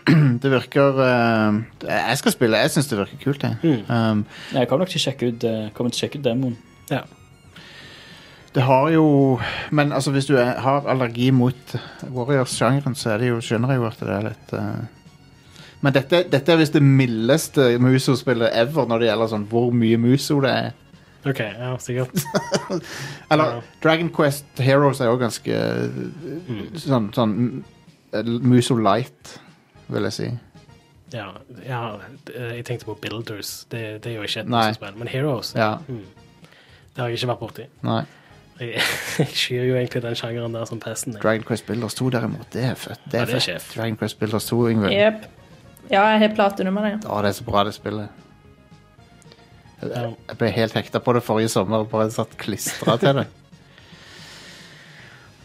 det virker eh, Jeg skal spille. Jeg syns det virker kult, jeg.
Mm.
Um,
Jeg kommer nok til å sjekke ut, eh, kommer til å sjekke ut demoen.
ja.
det har jo Men altså, hvis du er, har allergi mot Warriors-sjangeren, så er det jo, skjønner jeg jo at det er litt eh, Men dette, dette er visst det mildeste Muso-spillet ever når det gjelder sånn hvor mye Muso det er.
OK, ja, sikkert.
Eller
Ja. Mm.
Dragon Quest Heroes er jo ganske eh, sånn, sånn eh, Muso Light, vil jeg si.
Ja, ja, eh, jeg tenkte på Builders. Det, det er jo ikke et
Nei.
spill. Men Heroes,
Ja,
mm, det har jeg ikke vært borti.
nei.
Jeg, [LAUGHS] jeg skyr jo egentlig den sjangeren der som pesten. jeg.
Dragon Quest Builders 2 derimot, det er fett. Det
Ja,
er
det er
fett.
sjef.
Dragon Quest Builders 2, Yngve.
Jepp. Ja, jeg har platinum av det.
Å, det er så bra det spillet.
Ja.
Jeg- Jeg ble helt hekta på det forrige sommer, bare satt klistra til det. [LAUGHS]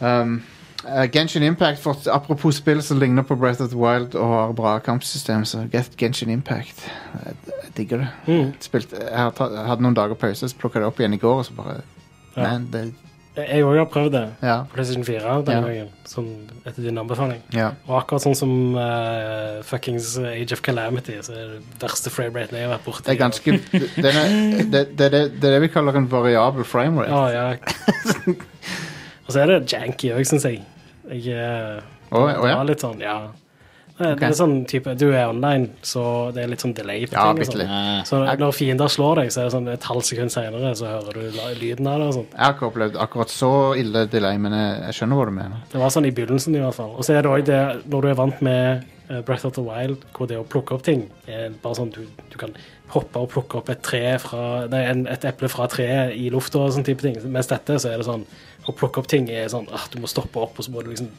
Um, eh, Genshin Impact, for, apropos spill som ligner på Breath of the Wild og har bra kampsystem, så Get Genshin Impact. Jeg, jeg digger det.
Mm.
Spilt, jeg, har tatt, jeg hadde noen dager pause, så plukka jeg det opp igjen i går, og så bare
Ja.
Man, det
Jeg òg har prøvd det.
Ja.
PlayStation 4 den
Ja.
gangen, som etter din anbefaling.
ja.
Og akkurat sånn som eh, fuckings Age of Calamity, så er det verste framerate jeg har vært borti.
Det er ganske det, det, er- det, det, det, det er det vi kaller en variabel framerate.
Ja, ja. [LAUGHS] Og så er det janky òg, syns jeg. Jeg eh,
Å, å, ja?
var litt sånn, ja. Det, det
Ok.
er sånn type, Du er online, så det er litt sånn delay på
Ja,
ting.
bitte
og
litt.
sånn. Så når fiender slår deg, så er det sånn et halvt sekund senere så hører du la- lyden av det. og sånn. sånt.
Jeg har ikke opplevd akkurat så ille delay, men jeg, jeg skjønner hva du mener.
Det var sånn i begynnelsen i hvert fall. Og så er det også det, når du er vant med eh, Breath of the Wild, hvor det å plukke opp ting er bare sånn du, du kan hoppe og plukke opp et tre fra Nei, en, et eple fra treet i lufta og sånn type ting. Mens dette så er det sånn å plukke opp ting er sånn at du må stoppe opp, og så må du liksom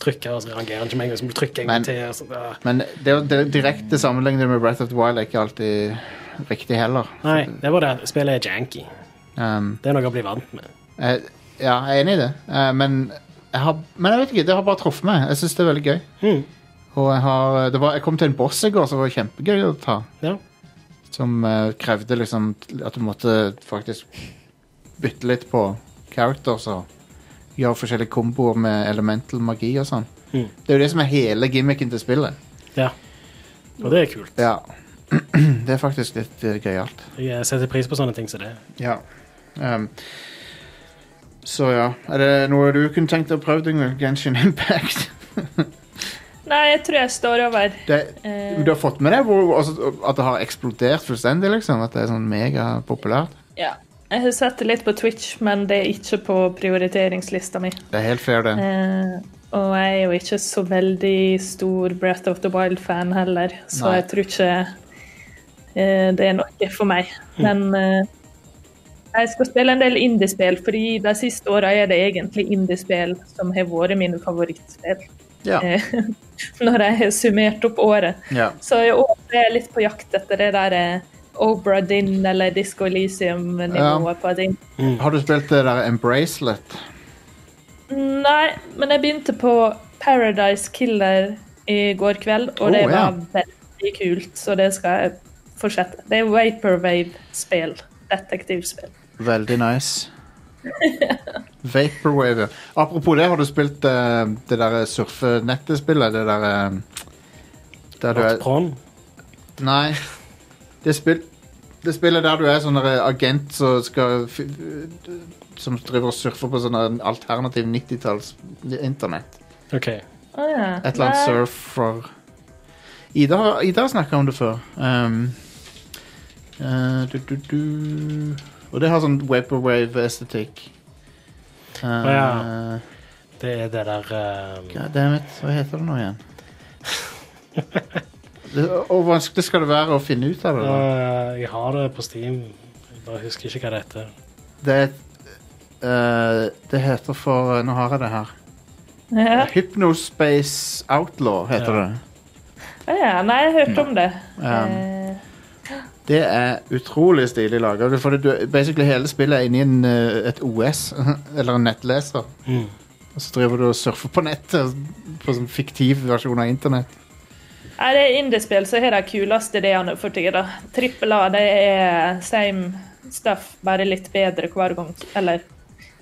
trykke, og så reagerer den ikke med en gang, så må du trykke en
Men-
gang til. og sånn, ah.
Men det, å- det å direkte sammenlignet med Breath of the Wild er ikke alltid riktig heller.
Nei, det var det. Spillet er janky.
Um,
Det er noe å bli vant med.
jeg, ja, jeg er enig i det, Eh, men jeg, har, men jeg vet ikke, det har bare truffet meg. Jeg syns det er veldig gøy.
Mm.
Og jeg, har, det var, jeg kom til en boss i går som var kjempegøy å ta.
Ja.
Som eh, krevde liksom at du måtte faktisk bytte litt på characters og gjøre forskjellige komboer med elemental magi og sånn.
Mm.
Det er jo det som er hele gimmicken til spillet.
Ja. Og det er kult.
Ja. [CLEARS THROAT] Det er faktisk litt eh, gøyalt.
Jeg setter pris på sånne ting som det.
Ja. Ehm, så ja. Er det noe du kunne tenkt deg å prøve, Yngve? Genshin Impact? [LAUGHS]
Nei, jeg tror jeg står over.
Det,
Eh,
du har fått med deg hvor, altså, at det har eksplodert fullstendig? liksom At det er sånn megapopulært?
ja. Jeg har sett det litt på Twitch, men det er ikke på prioriteringslista mi.
Det er helt fair, det.
Eh, og jeg er jo ikke så veldig stor Breath of the Wild-fan heller, så
Nei.
jeg tror ikke eh, det er noe for meg. Men eh, jeg skal spille en del indiespill, fordi de siste åra er det egentlig indiespill som har vært mine favorittspill.
Ja.
Eh, [LAUGHS] når jeg har summert opp året.
Ja.
Så i år er jeg litt på jakt etter det der eh, Obra Dinn eller Disco Elysium-nivået
Ja.
på ting.
Har du spilt det der Embracelet?
Nei, men jeg begynte på Paradise Killer i går kveld, og
Oh,
det
ja.
var veldig kult, så det skal jeg fortsette. Det er Vaporwave-spill. Detektivspill.
Veldig nice. Vaporwave. ja. Apropos det, har du spilt eh, det der surfenettespillet? Det der eh, der du er-
Pron?
Nei. Det, spill, det spillet der du er sånn der agent som skal f- Som driver og surfer på sånn der alternativ 90-talls internett.
OK.
Å ja.
Et eller annet
Nei,
surfer Ida, har- Ida har snakka om det før. Um, eh, du, du, du. Og det har sånn Vaporwave-estetikk. Uh,
ja. Det er det der eh,
Goddammit, hva heter det nå igjen? det, og vanskelig skal det være å finne ut av det. da.
eh, Jeg har det på Steam. Jeg bare husker ikke hva det heter.
Det er et eh, Det heter for eh, Nå har jeg det her.
Ja.
Hypnospace Outlaw heter
Ja.
det.
Å ja. Nei, jeg hørte om det.
Um,
Eh,
Det er utrolig stilig laga. For det- du, basically hele spillet er inni en, eh, et OS, [LAUGHS] eller en nettleser.
Mm.
Og så driver du og surfer på nettet, på sånn fiktiv versjon av internett.
Nei, det er indiespill, så har de kuleste ideene for tida. Trippel A, det er same stuff, bare litt bedre hver gang. Eller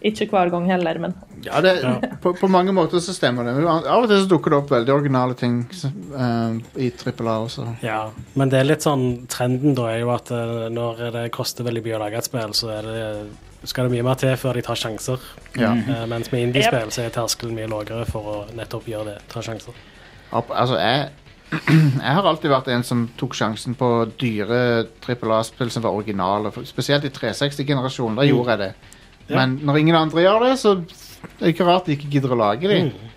ikke hver gang heller, men
Ja, det,
Ja.
På, på mange måter så stemmer det. Men Av og til så dukker det opp veldig originale ting eh, i trippel A også.
Ja, men det er litt sånn Trenden da er jo at eh, når det koster veldig mye å lage et spill, så er det, skal det mye mer til før de tar sjanser.
Ja.
Eh, mens med indiespill så er terskelen mye lavere for å nettopp gjøre det. Ta sjanser.
Opp, altså, jeg, [CLEARS THROAT] jeg har alltid vært en som tok sjansen på dyre trippel A-spill som var originale. for- Spesielt i 360-generasjonen. Da gjorde jeg det.
Mm. Ja.
Men når ingen andre gjør det, så er det ikke rart de ikke gidder å lage de.
Mm.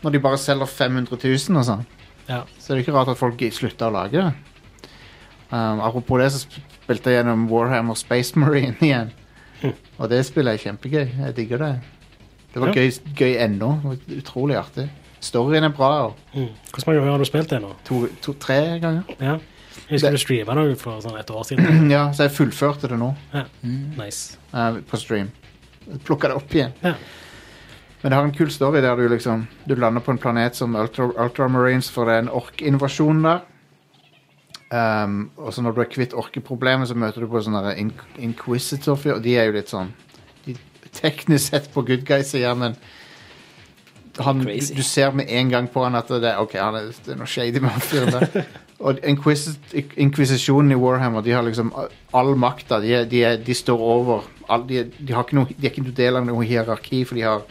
Når de bare selger 500 000 og sånn.
Ja.
Så er det ikke rart at folk gi- slutter å lage det. Um, apropos det, så sp- spilte jeg gjennom Warhammer Space Marine [LAUGHS] igjen. Og det spillet er kjempegøy. Jeg digger det. Det var
Hm. Ja.
gøy, gøy ennå. Det var Utrolig artig. Storyen er bra. og
Mm. Hvor mange ganger har du spilt det nå?
To, to, tre ganger.
Ja. Jeg husker
Det-
du streama noe for sånn et år siden.
Ja, så jeg fullførte det nå
Ja. Nice.
eh, på stream. Plukka det opp igjen.
Ja.
Men det har en kul story der du liksom Du lander på en planet som Ultra, Ultramarines, for det er en orkinvasjon der. Ehm, og så når du er kvitt orkeproblemet, så møter du på sånne der in inquisitor-fyr. Og de er jo litt sånn de, Teknisk sett på good guy-sida, men han, du,
Crazy.
du ser med en gang på han at det er, ok, han er, det er noe shady med han fyren der. Og inquis inkvisisjonen i Warhammer, de har liksom all makta. De, er- de, er- de står over all, de, er- de, har ikke noe, de er ikke noe del av noe hierarki, for de, har,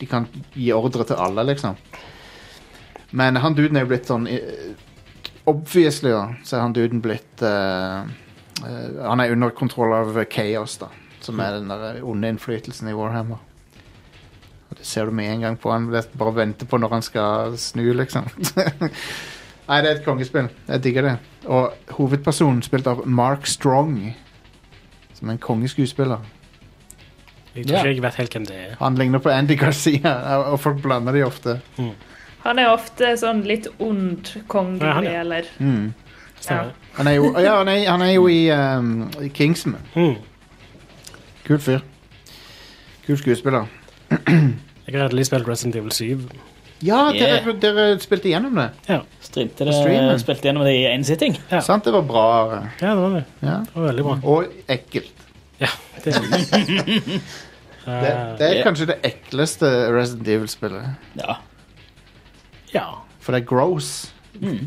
de kan gi ordre til alle, liksom. Men han duden er jo blitt sånn eh, Obviously, da, så er han duden blitt eh, eh, Han er under kontroll av Chaos, da. Som er den der eh, onde innflytelsen i Warhammer. Og Det ser du med en gang på han. Det er Bare venter på når han skal snu, liksom. [LAUGHS] Nei, det er et kongespill. Jeg digger det. Og hovedpersonen spilt av Mark Strong. Som er en kongeskuespiller.
Jeg tror ikke jeg vet helt hvem det er.
Han ligner på Andy Garcia, og folk blander de ofte.
Han er ofte sånn litt ond konge,
Ja, han er-
eller
Mm.
ja.
Han er jo, ja, han er, han er jo i, um, i Kingsman.
Hmm.
Kul fyr. Kul skuespiller.
Jeg har redelig spilt Resident Evil 7.
Ja,
Yeah.
dere, dere spilte igjennom det.
Ja.
Streamte
På streamen.
det, spilte gjennom det i én sitting.
Sant, det var bra. Are.
Ja, det var det.
Ja.
Det var veldig bra.
Og ekkelt.
Ja, det er det.
Det,
Ah.
det er
Eh,
kanskje det ekleste Resident Evil-spillet.
Ja.
Ja,
For det er gross.
det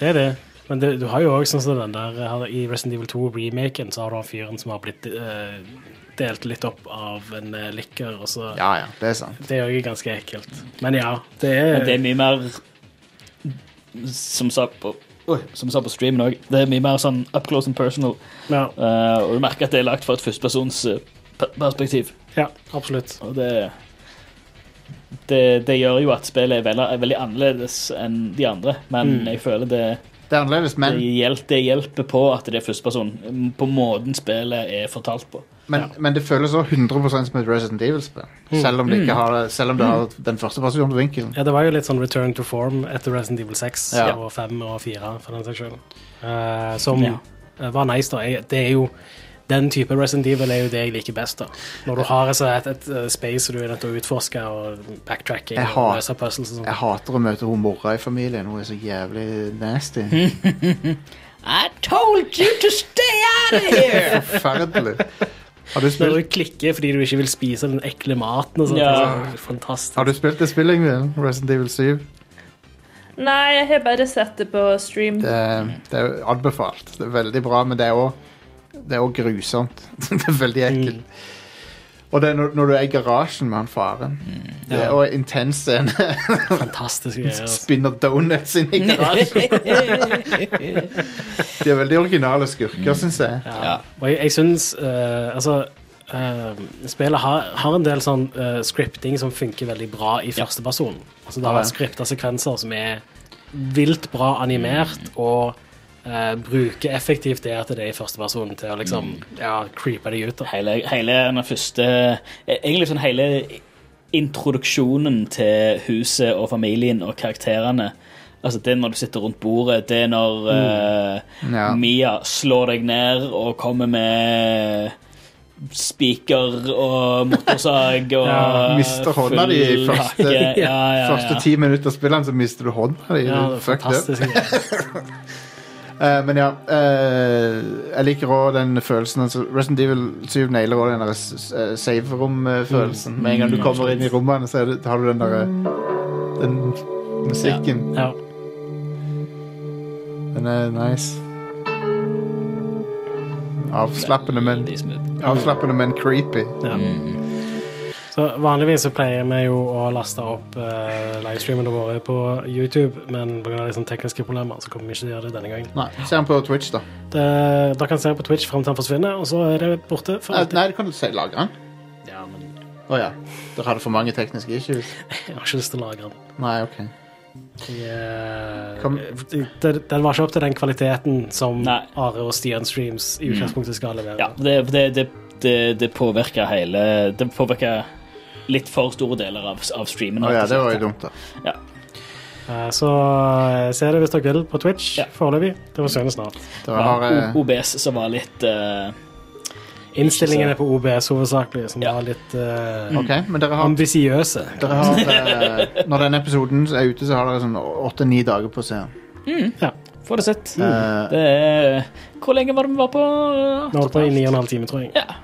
er det. Men det, du har jo òg sånn som den der her I Resident Evil 2-remaken så har du han fyren som har blitt eh, delt litt opp av en uh, likker, og så
Ja, ja, det er sant.
Det er jo ganske ekkelt. Men ja, det
Men det
er
er mye mer Som sa på Oi, som sa på streamen òg, det er mye mer sånn up close and personal.
Ja.
Eh, og du merker at det er lagt fra et førstepersons eh, per- perspektiv.
Ja, absolutt.
Og det, det Det gjør jo at spillet er veldig, er veldig annerledes enn de andre, men
Mm.
jeg føler det
Det er annerledes, men,
det, hjel- det hjelper på at det er førsteperson, på måten spillet er Hmm. fortalt på.
men, men det føles også 100 som et Resident Evil-spill.
Mm.
Selv om det ikke
Mm.
har, selv om det
Mm.
har den første personen på vinkelen.
Ja, det var jo litt sånn return to form etter Resident Evil 6
Ja.
og 5 og 4, for den saks skyld. Eh, som
Ja.
eh, var nice, da. Jeg, det er jo den type Resident Evil er jo det jeg liker best. da. Når du har altså, et, et eh, space som du er nødt til å utforske og backtracking
Jeg
og
har-
løse puzzles og sånn.
Jeg hater å møte hun mora i familien. Hun er så jævlig nasty.
Mm.
I told you to stay out of here!
Forferdelig. Har du
Når
spilt,
du klikker fordi du ikke vil spise den ekle maten og sånt.
Ja.
det er så Fantastisk.
har du spilt det spillet, Ingvild? Resident Evil 7?
Nei, jeg har bare sett det på stream.
Det, det er jo anbefalt. Det er veldig bra, men det er òg det er også grusomt. [LAUGHS] det er veldig
Mm.
ekkelt. Og det er når, når du er i garasjen med han faren.
Mm.
Det er òg intens scene. [LAUGHS]
Fantastisk greier. altså.
Spinner donuts inn i
[LAUGHS]
garasjen. De er veldig originale skurker, syns jeg.
Mm. Ja. Og jeg, jeg syns Altså eh, Spillet har, har en del sånn eh, scripting som funker veldig bra i første person. Altså Det har
Ja, ja.
vært skripta sekvenser som er vilt bra animert
Mm.
og eh, bruker effektivt det at det er i første person til å liksom
Mm.
ja, creepe deg ut. da.
Hele, hele den første Egentlig sånn hele introduksjonen til huset og familien og karakterene. Altså Det er når du sitter rundt bordet, det er når eh,
Mm. Ja.
Mia slår deg ned og kommer med spiker og
[LAUGHS]
motorsag og
Ja, mister hånda di [LAUGHS] i
full
første,
hakke. Ja, ja, ja.
første ti minutter av spillet, så mister du hånda di.
Ja, det er
Fuck det.
fantastisk.
[LAUGHS] Eh, men ja, eh, jeg liker òg den følelsen altså, Resident Evil 7 nailer òg den der s- eh, save-rom-følelsen. Med en gang du kommer inn i rommene, så er det, har du den derre Den musikken.
Ja.
Den er nice. Avslappende, men Avslappende, men creepy.
Ja. Så Vanligvis så pleier vi jo å laste opp eh, livestreamene våre på YouTube, men pga. Liksom tekniske problemer så kommer vi ikke til å gjøre det denne gangen.
Nei, Se den på Twitch, da.
Det, dere kan se den på Twitch frem til den forsvinner, og så er det borte. For
Eh,
alltid.
Nei, du kan se, lagre den.
Ja, men
Å ja. Dere hadde for mange tekniske issues.
jeg har ikke lyst til å lagre den.
Nei, OK.
Jeg,
Kom-
eh, den, den var ikke opp til den kvaliteten som Are og Stian Streams i utgangspunktet skal levere.
Ja, det, det, det, det, det påvirker hele Det påvirker litt for store deler av, av streamen.
Å ja,
rett og
det var
slett.
jo dumt, da.
Ja.
Eh, Så eh, se det hvis dere vil på Twitch foreløpig. Det forsvinner snart.
Det var, eh,
O- OBS som var litt eh,
Innstillingene på OBS hovedsakelig, som var litt eh,
Ok, men dere har-
ambisiøse.
Dere har, eh, når denne episoden er ute, så har dere sånn åtte-ni dager på seg.
mm,
Ja.
Få det sett.
Eh,
Det er Hvor lenge var det vi var på?
Vi holdt på i ni og en halv time, tror jeg.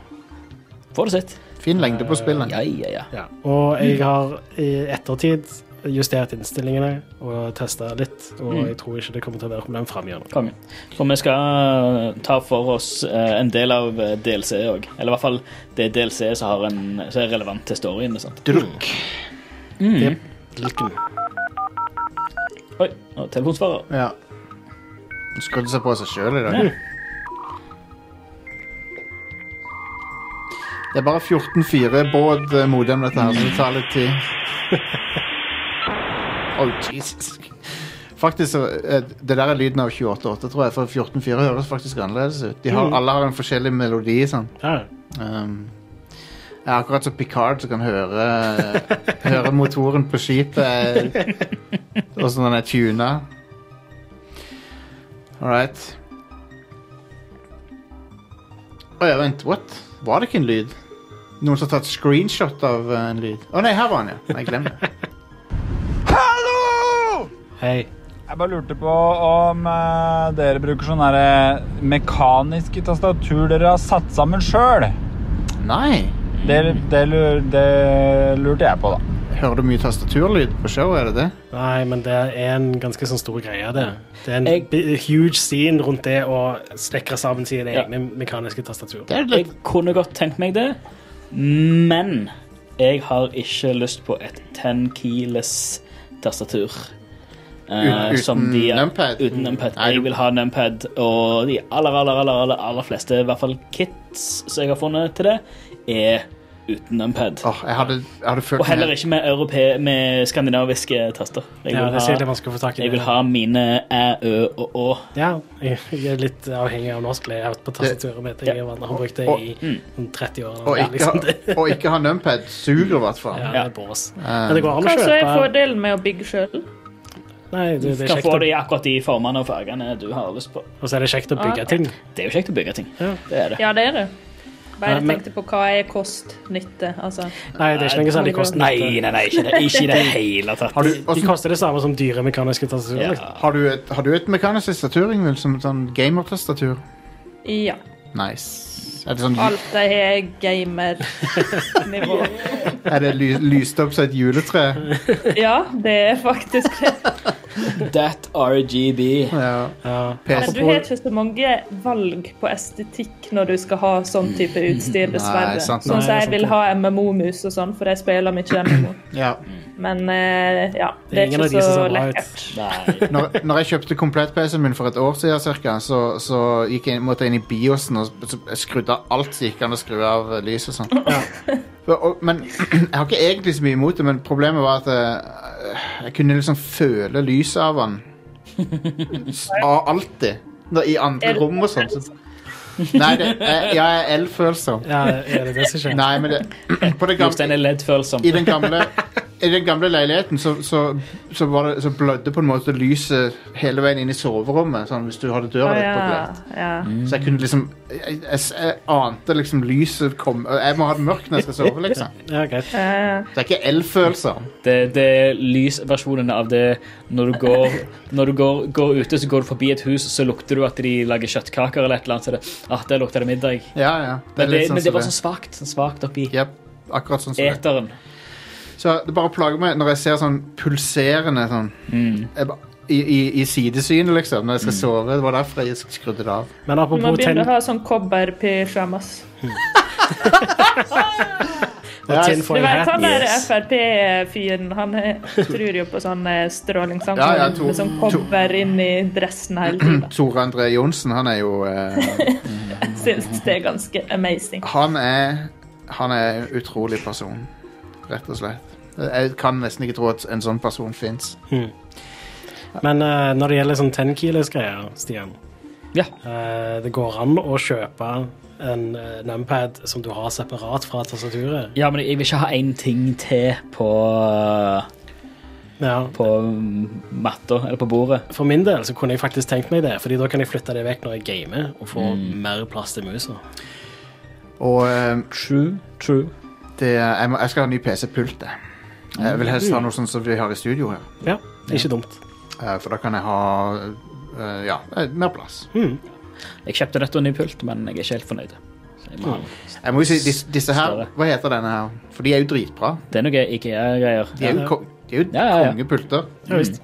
Få det sett.
Fin lengde på spillet.
Ja, ja, ja.
Ja. Og jeg har i ettertid justert innstillingene og testa litt, og
Mm.
jeg tror ikke det kommer til å være et problem framover.
Konge. For vi skal ta for oss eh, en del av eh, DLC òg. Eller i hvert fall det DLC som, har en, som er liksom. relevant til storyen. Sant?
Druk.
Mm.
Lykken.
Oi, nå, telefonsvarer.
Ja. Hun skrudde seg på seg sjøl i dag.
Ja.
Det er bare 14-4 båt eh, modem, dette her, så det tar litt tid. oh, Jesus. Faktisk, så, eh, Det der er lyden av 28.8, tror jeg, for 14-4 høres faktisk annerledes ut. De har,
Mhm.
Alle har en forskjellig melodi. sånn.
Ja.
Um, jeg er akkurat som Picard som kan høre, høre motoren på skipet eh, og sånn den er tuna. All right. Å ja, vent, what? Var det ikke en lyd? Noen som har tatt screenshot av eh, en lyd? Å nei, her var den, ja. Jeg glemte det.
Hallo!
Hei.
Jeg bare lurte på om eh, dere bruker sånne her, eh, mekaniske tastatur dere har satt sammen sjøl.
Nei.
Det, det, lur- det lurte jeg på, da.
Hører du mye tastaturlyd på show, er det det?
Nei, men det er en ganske sånn stor greie, det. Det er en bi- huge scene rundt det å snekre sammen sine
Ja.
egne mekaniske tastatur.
Jeg kunne godt tenkt meg det, men jeg har ikke lyst på et 10 keyless tastatur. eh,
Ut-
som
uten
de-
numpad?
Uten numpad. Jeg vil ha numpad, og de aller, aller, aller, aller, aller fleste, i hvert fall kits som jeg har funnet til det, er uten numpad.
jeg hadde, følt
og heller ikke med, europe, med skandinaviske taster. Jeg
Ja,
vil
det er
ha-
sikkert vanskelig å få tak i.
Jeg vil ha mine æ, ø og å.
Ja, jeg jeg er litt avhengig av norsk layout på tastaturet mitt. Jeg er vant- har brukt det
Og-
i
mm.
sånn 30 år.
Og ikke,
liksom.
ha- og ikke ha numpad suger, i hvert fall.
Ja, det er bås.
Um,
Men det går an å
Hva så er
kjøpe
fordelen med å bygge sjøl?
Nei, det,
Du
det er
kan
kjekt
få
å
det i akkurat de formene og fargene du har lyst på.
Og så er det kjekt å bygge
Ah, ok.
ting.
Det er jo kjekt å bygge ting. Det er det.
Ja, det er det.
Nei,
Bare
men-
tenkte på hva er kost-nytte, altså.
Nei, det er ikke noe særlig kost.
Nei, nei, nei, ikke det- ikke i [LAUGHS] det hele tatt.
Har du, de koster det samme som dyre mekaniske tastaturer. liksom.
Har du et, har du et mekanisk tastatur, Ingvild? Som et sånn gamertastatur?
Ja.
Nice. Er det, sånn,
Alt de har, er
[LAUGHS]
gamer-nivå.
er det ly, lyst opp som et juletre?
Ja, det er faktisk det.
That RGB.
Ja.
Men du har ikke så mange valg på estetikk når du skal ha sånn type utstyr, dessverre.
Nei, sant.
sånn som
Nei,
jeg
sant
vil
det.
ha MMO-mus og sånn, for jeg spiller
[CLEARS THROAT]
mye MMO.
Ja.
Men eh, ja, det er ikke så lekkert.
Når, når jeg kjøpte komplett-PC-en min for et år siden, cirka, så, så gikk jeg, måtte jeg inn i biosen og så jeg skrudde av alt som gikk an å skru av eh, lys og sånn. Og- og- Men [CLEARS THROAT] jeg har ikke egentlig så mye imot det, men problemet var at eh, jeg kunne liksom føle lyset av den. S- av Alltid. Da, I andre
Er du
rom og sånn. Så. Nei, det, jeg, jeg er elfølsom.
Ja, er det det som skjer?
Nei, men det, [CLEARS THROAT] på det gamle,
Jostein er leddfølsom.
i den gamle i den gamle leiligheten så, så, så, var det, så blødde på en måte lyset hele veien inn i soverommet. Sånn, hvis du hadde døra
Å,
ditt på
ja,
gløtt.
ja.
Så jeg kunne liksom jeg, jeg, jeg ante liksom lyset kom Jeg må ha det mørkt når jeg skal
[LAUGHS]
sove, liksom.
Ja, greit.
Det er ikke elfølelser.
Det, det er lysversjonen av det når du, går, når du går, går ute, så går du forbi et hus, så lukter du at de lager kjøttkaker eller et eller annet. Så er det, ah, der lukter det middag.
Ja, ja.
men, det,
litt sånn
men det
som
var så svakt, sånn svakt oppi
Akkurat sånn som det.
eteren.
Så det bare plager meg når jeg ser sånn pulserende sånn
Mm.
jeg, ba- i, i, I sidesynet, liksom, når jeg skal sove. Det var derfor jeg skrudde det av.
Men
Du må begynne å ha sånn kobberpysjamas. Du vet han der Frp-fyren, han eh, tror jo på sånn eh,
Ja,
strålingssamtale
ja, Tor-
med sånn kobber inn i dressen hele tiden.
[CLEARS THROAT] Tore André Johnsen, han er jo eh,
Jeg synes det er ganske amazing.
han, er, han er en utrolig person, rett og slett. Jeg kan nesten ikke tro at en sånn person fins.
Hmm. Men eh, når det gjelder sånn 10 kilos greier, Stian eh, Det går an å kjøpe en eh, numpad som du har separat fra tastaturet.
Ja, men jeg vil ikke ha én ting til på På matta, eller på bordet.
For min del så kunne jeg faktisk tenkt meg det, Fordi da kan jeg flytte det vekk når jeg gamer og få
Mm.
mer plass til musa.
Og eh,
True, true.
Det, jeg, må, jeg skal ha en ny PC-pult. jeg. Jeg vil helst ha noe sånn som vi har i studio her.
Ja, ikke dumt.
Eh, For da kan jeg ha eh, ja, eh, mer plass.
Jeg kjøpte nettopp en ny pult, men jeg er ikke helt fornøyd. Så jeg må ha en
Jeg må jo si, disse, disse her,
Større.
Hva heter denne her? For de er jo dritbra.
Det er noe IKEA-greier.
De er jo, ko de er jo
ja, ja.
kongepulter.
Ja, visst.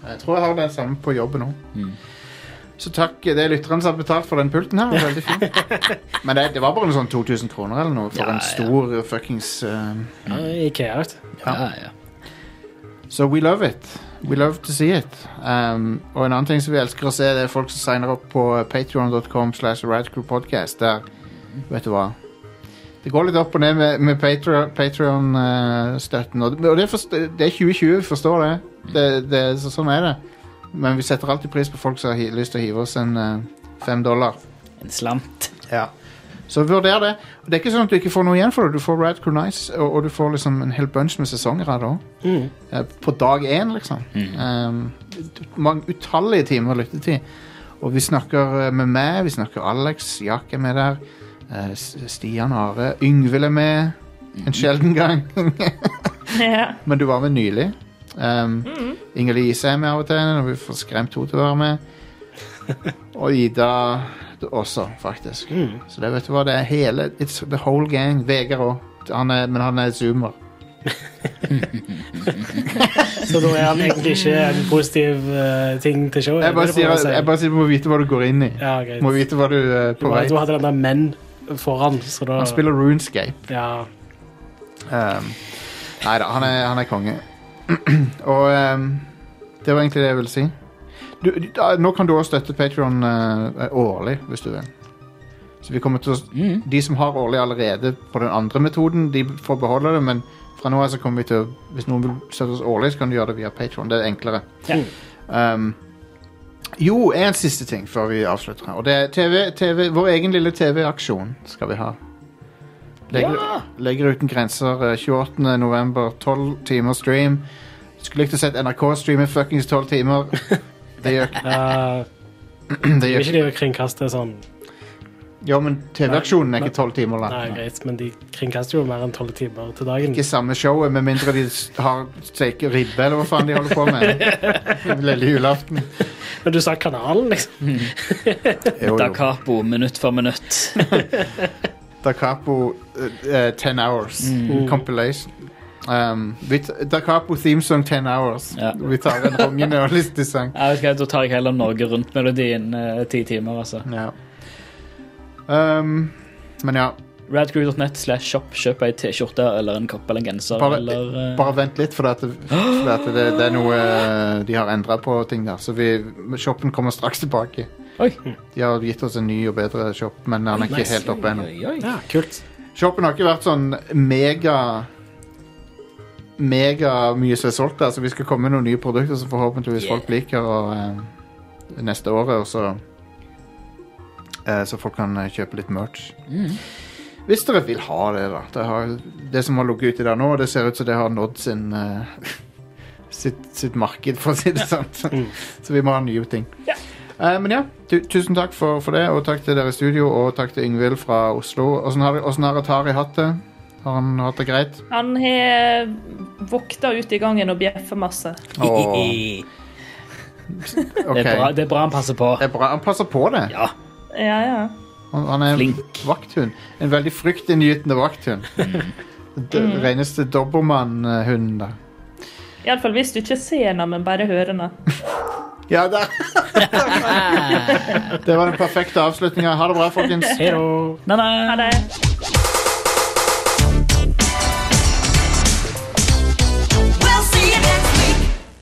Jeg tror jeg har den samme på jobben òg.
Mm.
Så takk, det er lytteren som har betalt for den pulten her. Veldig
[LAUGHS]
fin. Men det, det var bare noe sånn 2000 kroner eller noe for en stor fuckings eh,
Ja, IKEA, vet du.
Så we love it. We love to see it. Um, og en annen ting som vi elsker å se, det er folk som signer opp på patreon.com slash radcrewpodcast, der Vet du hva? Det går litt opp og ned med, med Patrion-støtten. og og det, forst- det er 2020, vi forstår det. det, det så, sånn er det. Men vi setter alltid pris på folk som har hi- lyst til å hive oss en eh, fem dollar.
En slant.
Ja. Så vurder det. Og det er ikke sånn at du ikke får noe igjen for det. Du får Radcrew Nice, og, og du får liksom en hel bunch med sesonger av det òg.
Mm.
Eh, På dag én, liksom. Um, mange utallige timer lyttetid. Og vi snakker eh, med meg, vi snakker Alex, Jak er med der. eh, S- Stian Are. Yngvild er med. En sjelden gang.
Ja.
Men du var med nylig. Um, Ingelill Ise er med av og til, når vi får skremt henne til å være med. Og Ida også, faktisk.
Mm.
Så det vet du hva, det er hele it's The whole gang. Vegard òg. Men han er zoomer.
Så da er han egentlig ikke en positiv eh, ting til showet.
Jeg bare
det er det
sier,
prøver å si.
jeg bare sier du må vite hva du går inn i.
Ja, greit.
Må vite hva du er
Du
på vei
hadde- Du hadde den der menn foran, så da
Han spiller RuneScape.
Ja.
Um, nei da, han er, han er konge. [CLEARS THROAT] Og um, det var egentlig det jeg ville si. Du, du, da, nå kan du også støtte Patreon eh, årlig, hvis du vil. Så vi kommer til å, De som har årlig allerede på den andre metoden, de får beholde det, men fra nå av så kommer vi til å Hvis noen vil støtte oss årlig, så kan du gjøre det via Patreon. Det er enklere. Um, jo, en siste ting før vi avslutter her. Og det er TV, TV, vår egen lille TV-aksjon skal vi ha. Legger, legger uten grenser eh, 28. november, 12 timer stream. Skulle likt å sett NRK streame fuckings 12 timer. Det gjør
Uh,
det
vil
gjør
ikke de å kringkaste sånn
Ja, men TV-aksjonen er ikke 12 timer lang.
Nei, greit, men de kringkaster jo mer enn tolv timer til dagen.
Ikke samme showet, med mindre de s- har steker ribbe, eller hva faen de holder på med. Lille julaften.
Men du sa kanalen, liksom.
Jo, jo.
Da Capo, minutt for minutt.
Da Capo eh, eh, 10 Hours
Mm.
Compilation. Um, vi t- da Capo theme song 10 Hours. Vi tar en rungende og lystig sang.
Jeg vet ikke, Da tar jeg heller Norge Rundt-melodien eh, ti timer, altså.
Ja. Um, men ja.
Radcrew.net slash shop. Kjøp ei T-skjorte eller en kopp eller en genser.
Bare,
eller, eh,
bare vent litt, for, at, det- for at det, det er noe eh, de har endra på ting der. Så vi, shoppen kommer straks tilbake.
Oi.
De har gitt oss en ny og bedre shop, men den er ikke
Nice.
helt oppe ennå.
Oi, oi, oi.
Ja, kult.
Shoppen har ikke vært sånn mega Mega mye som er solgt der, så vi skal komme med noen nye produkter som forhåpentligvis
Yeah.
folk liker og, eh, neste året, og så eh, Så folk kan eh, kjøpe litt merch.
Mm.
Hvis dere vil ha det, da. Det, har, det som har ligget ute der nå, det ser ut som det har nådd sin eh, [LAUGHS] sitt, sitt marked, for å si det
Mm.
sånn. Så vi må ha nye ting. Eh, men ja, tu tusen takk for, for det, og takk til dere i studio, og takk til Yngvild fra Oslo. Åssen har, åssen har Atari hatt det? Har han hatt det greit?
Han har vokta ute i gangen og bjeffer masse.
Åh.
[LAUGHS] Det, er bra, det er bra han passer på.
Det er bra. Han passer på det.
Ja.
Ja, ja.
Han, han er en vakthund. En veldig fryktinngytende
[LAUGHS]
vakthund. Den
Mm.
reneste dobbermannhunden, da.
Iallfall hvis du ikke ser henne, men bare hører henne.
Ja, [LAUGHS] der. det var den perfekte avslutninga. Ha det bra, folkens.
Hei da.
Ha
det.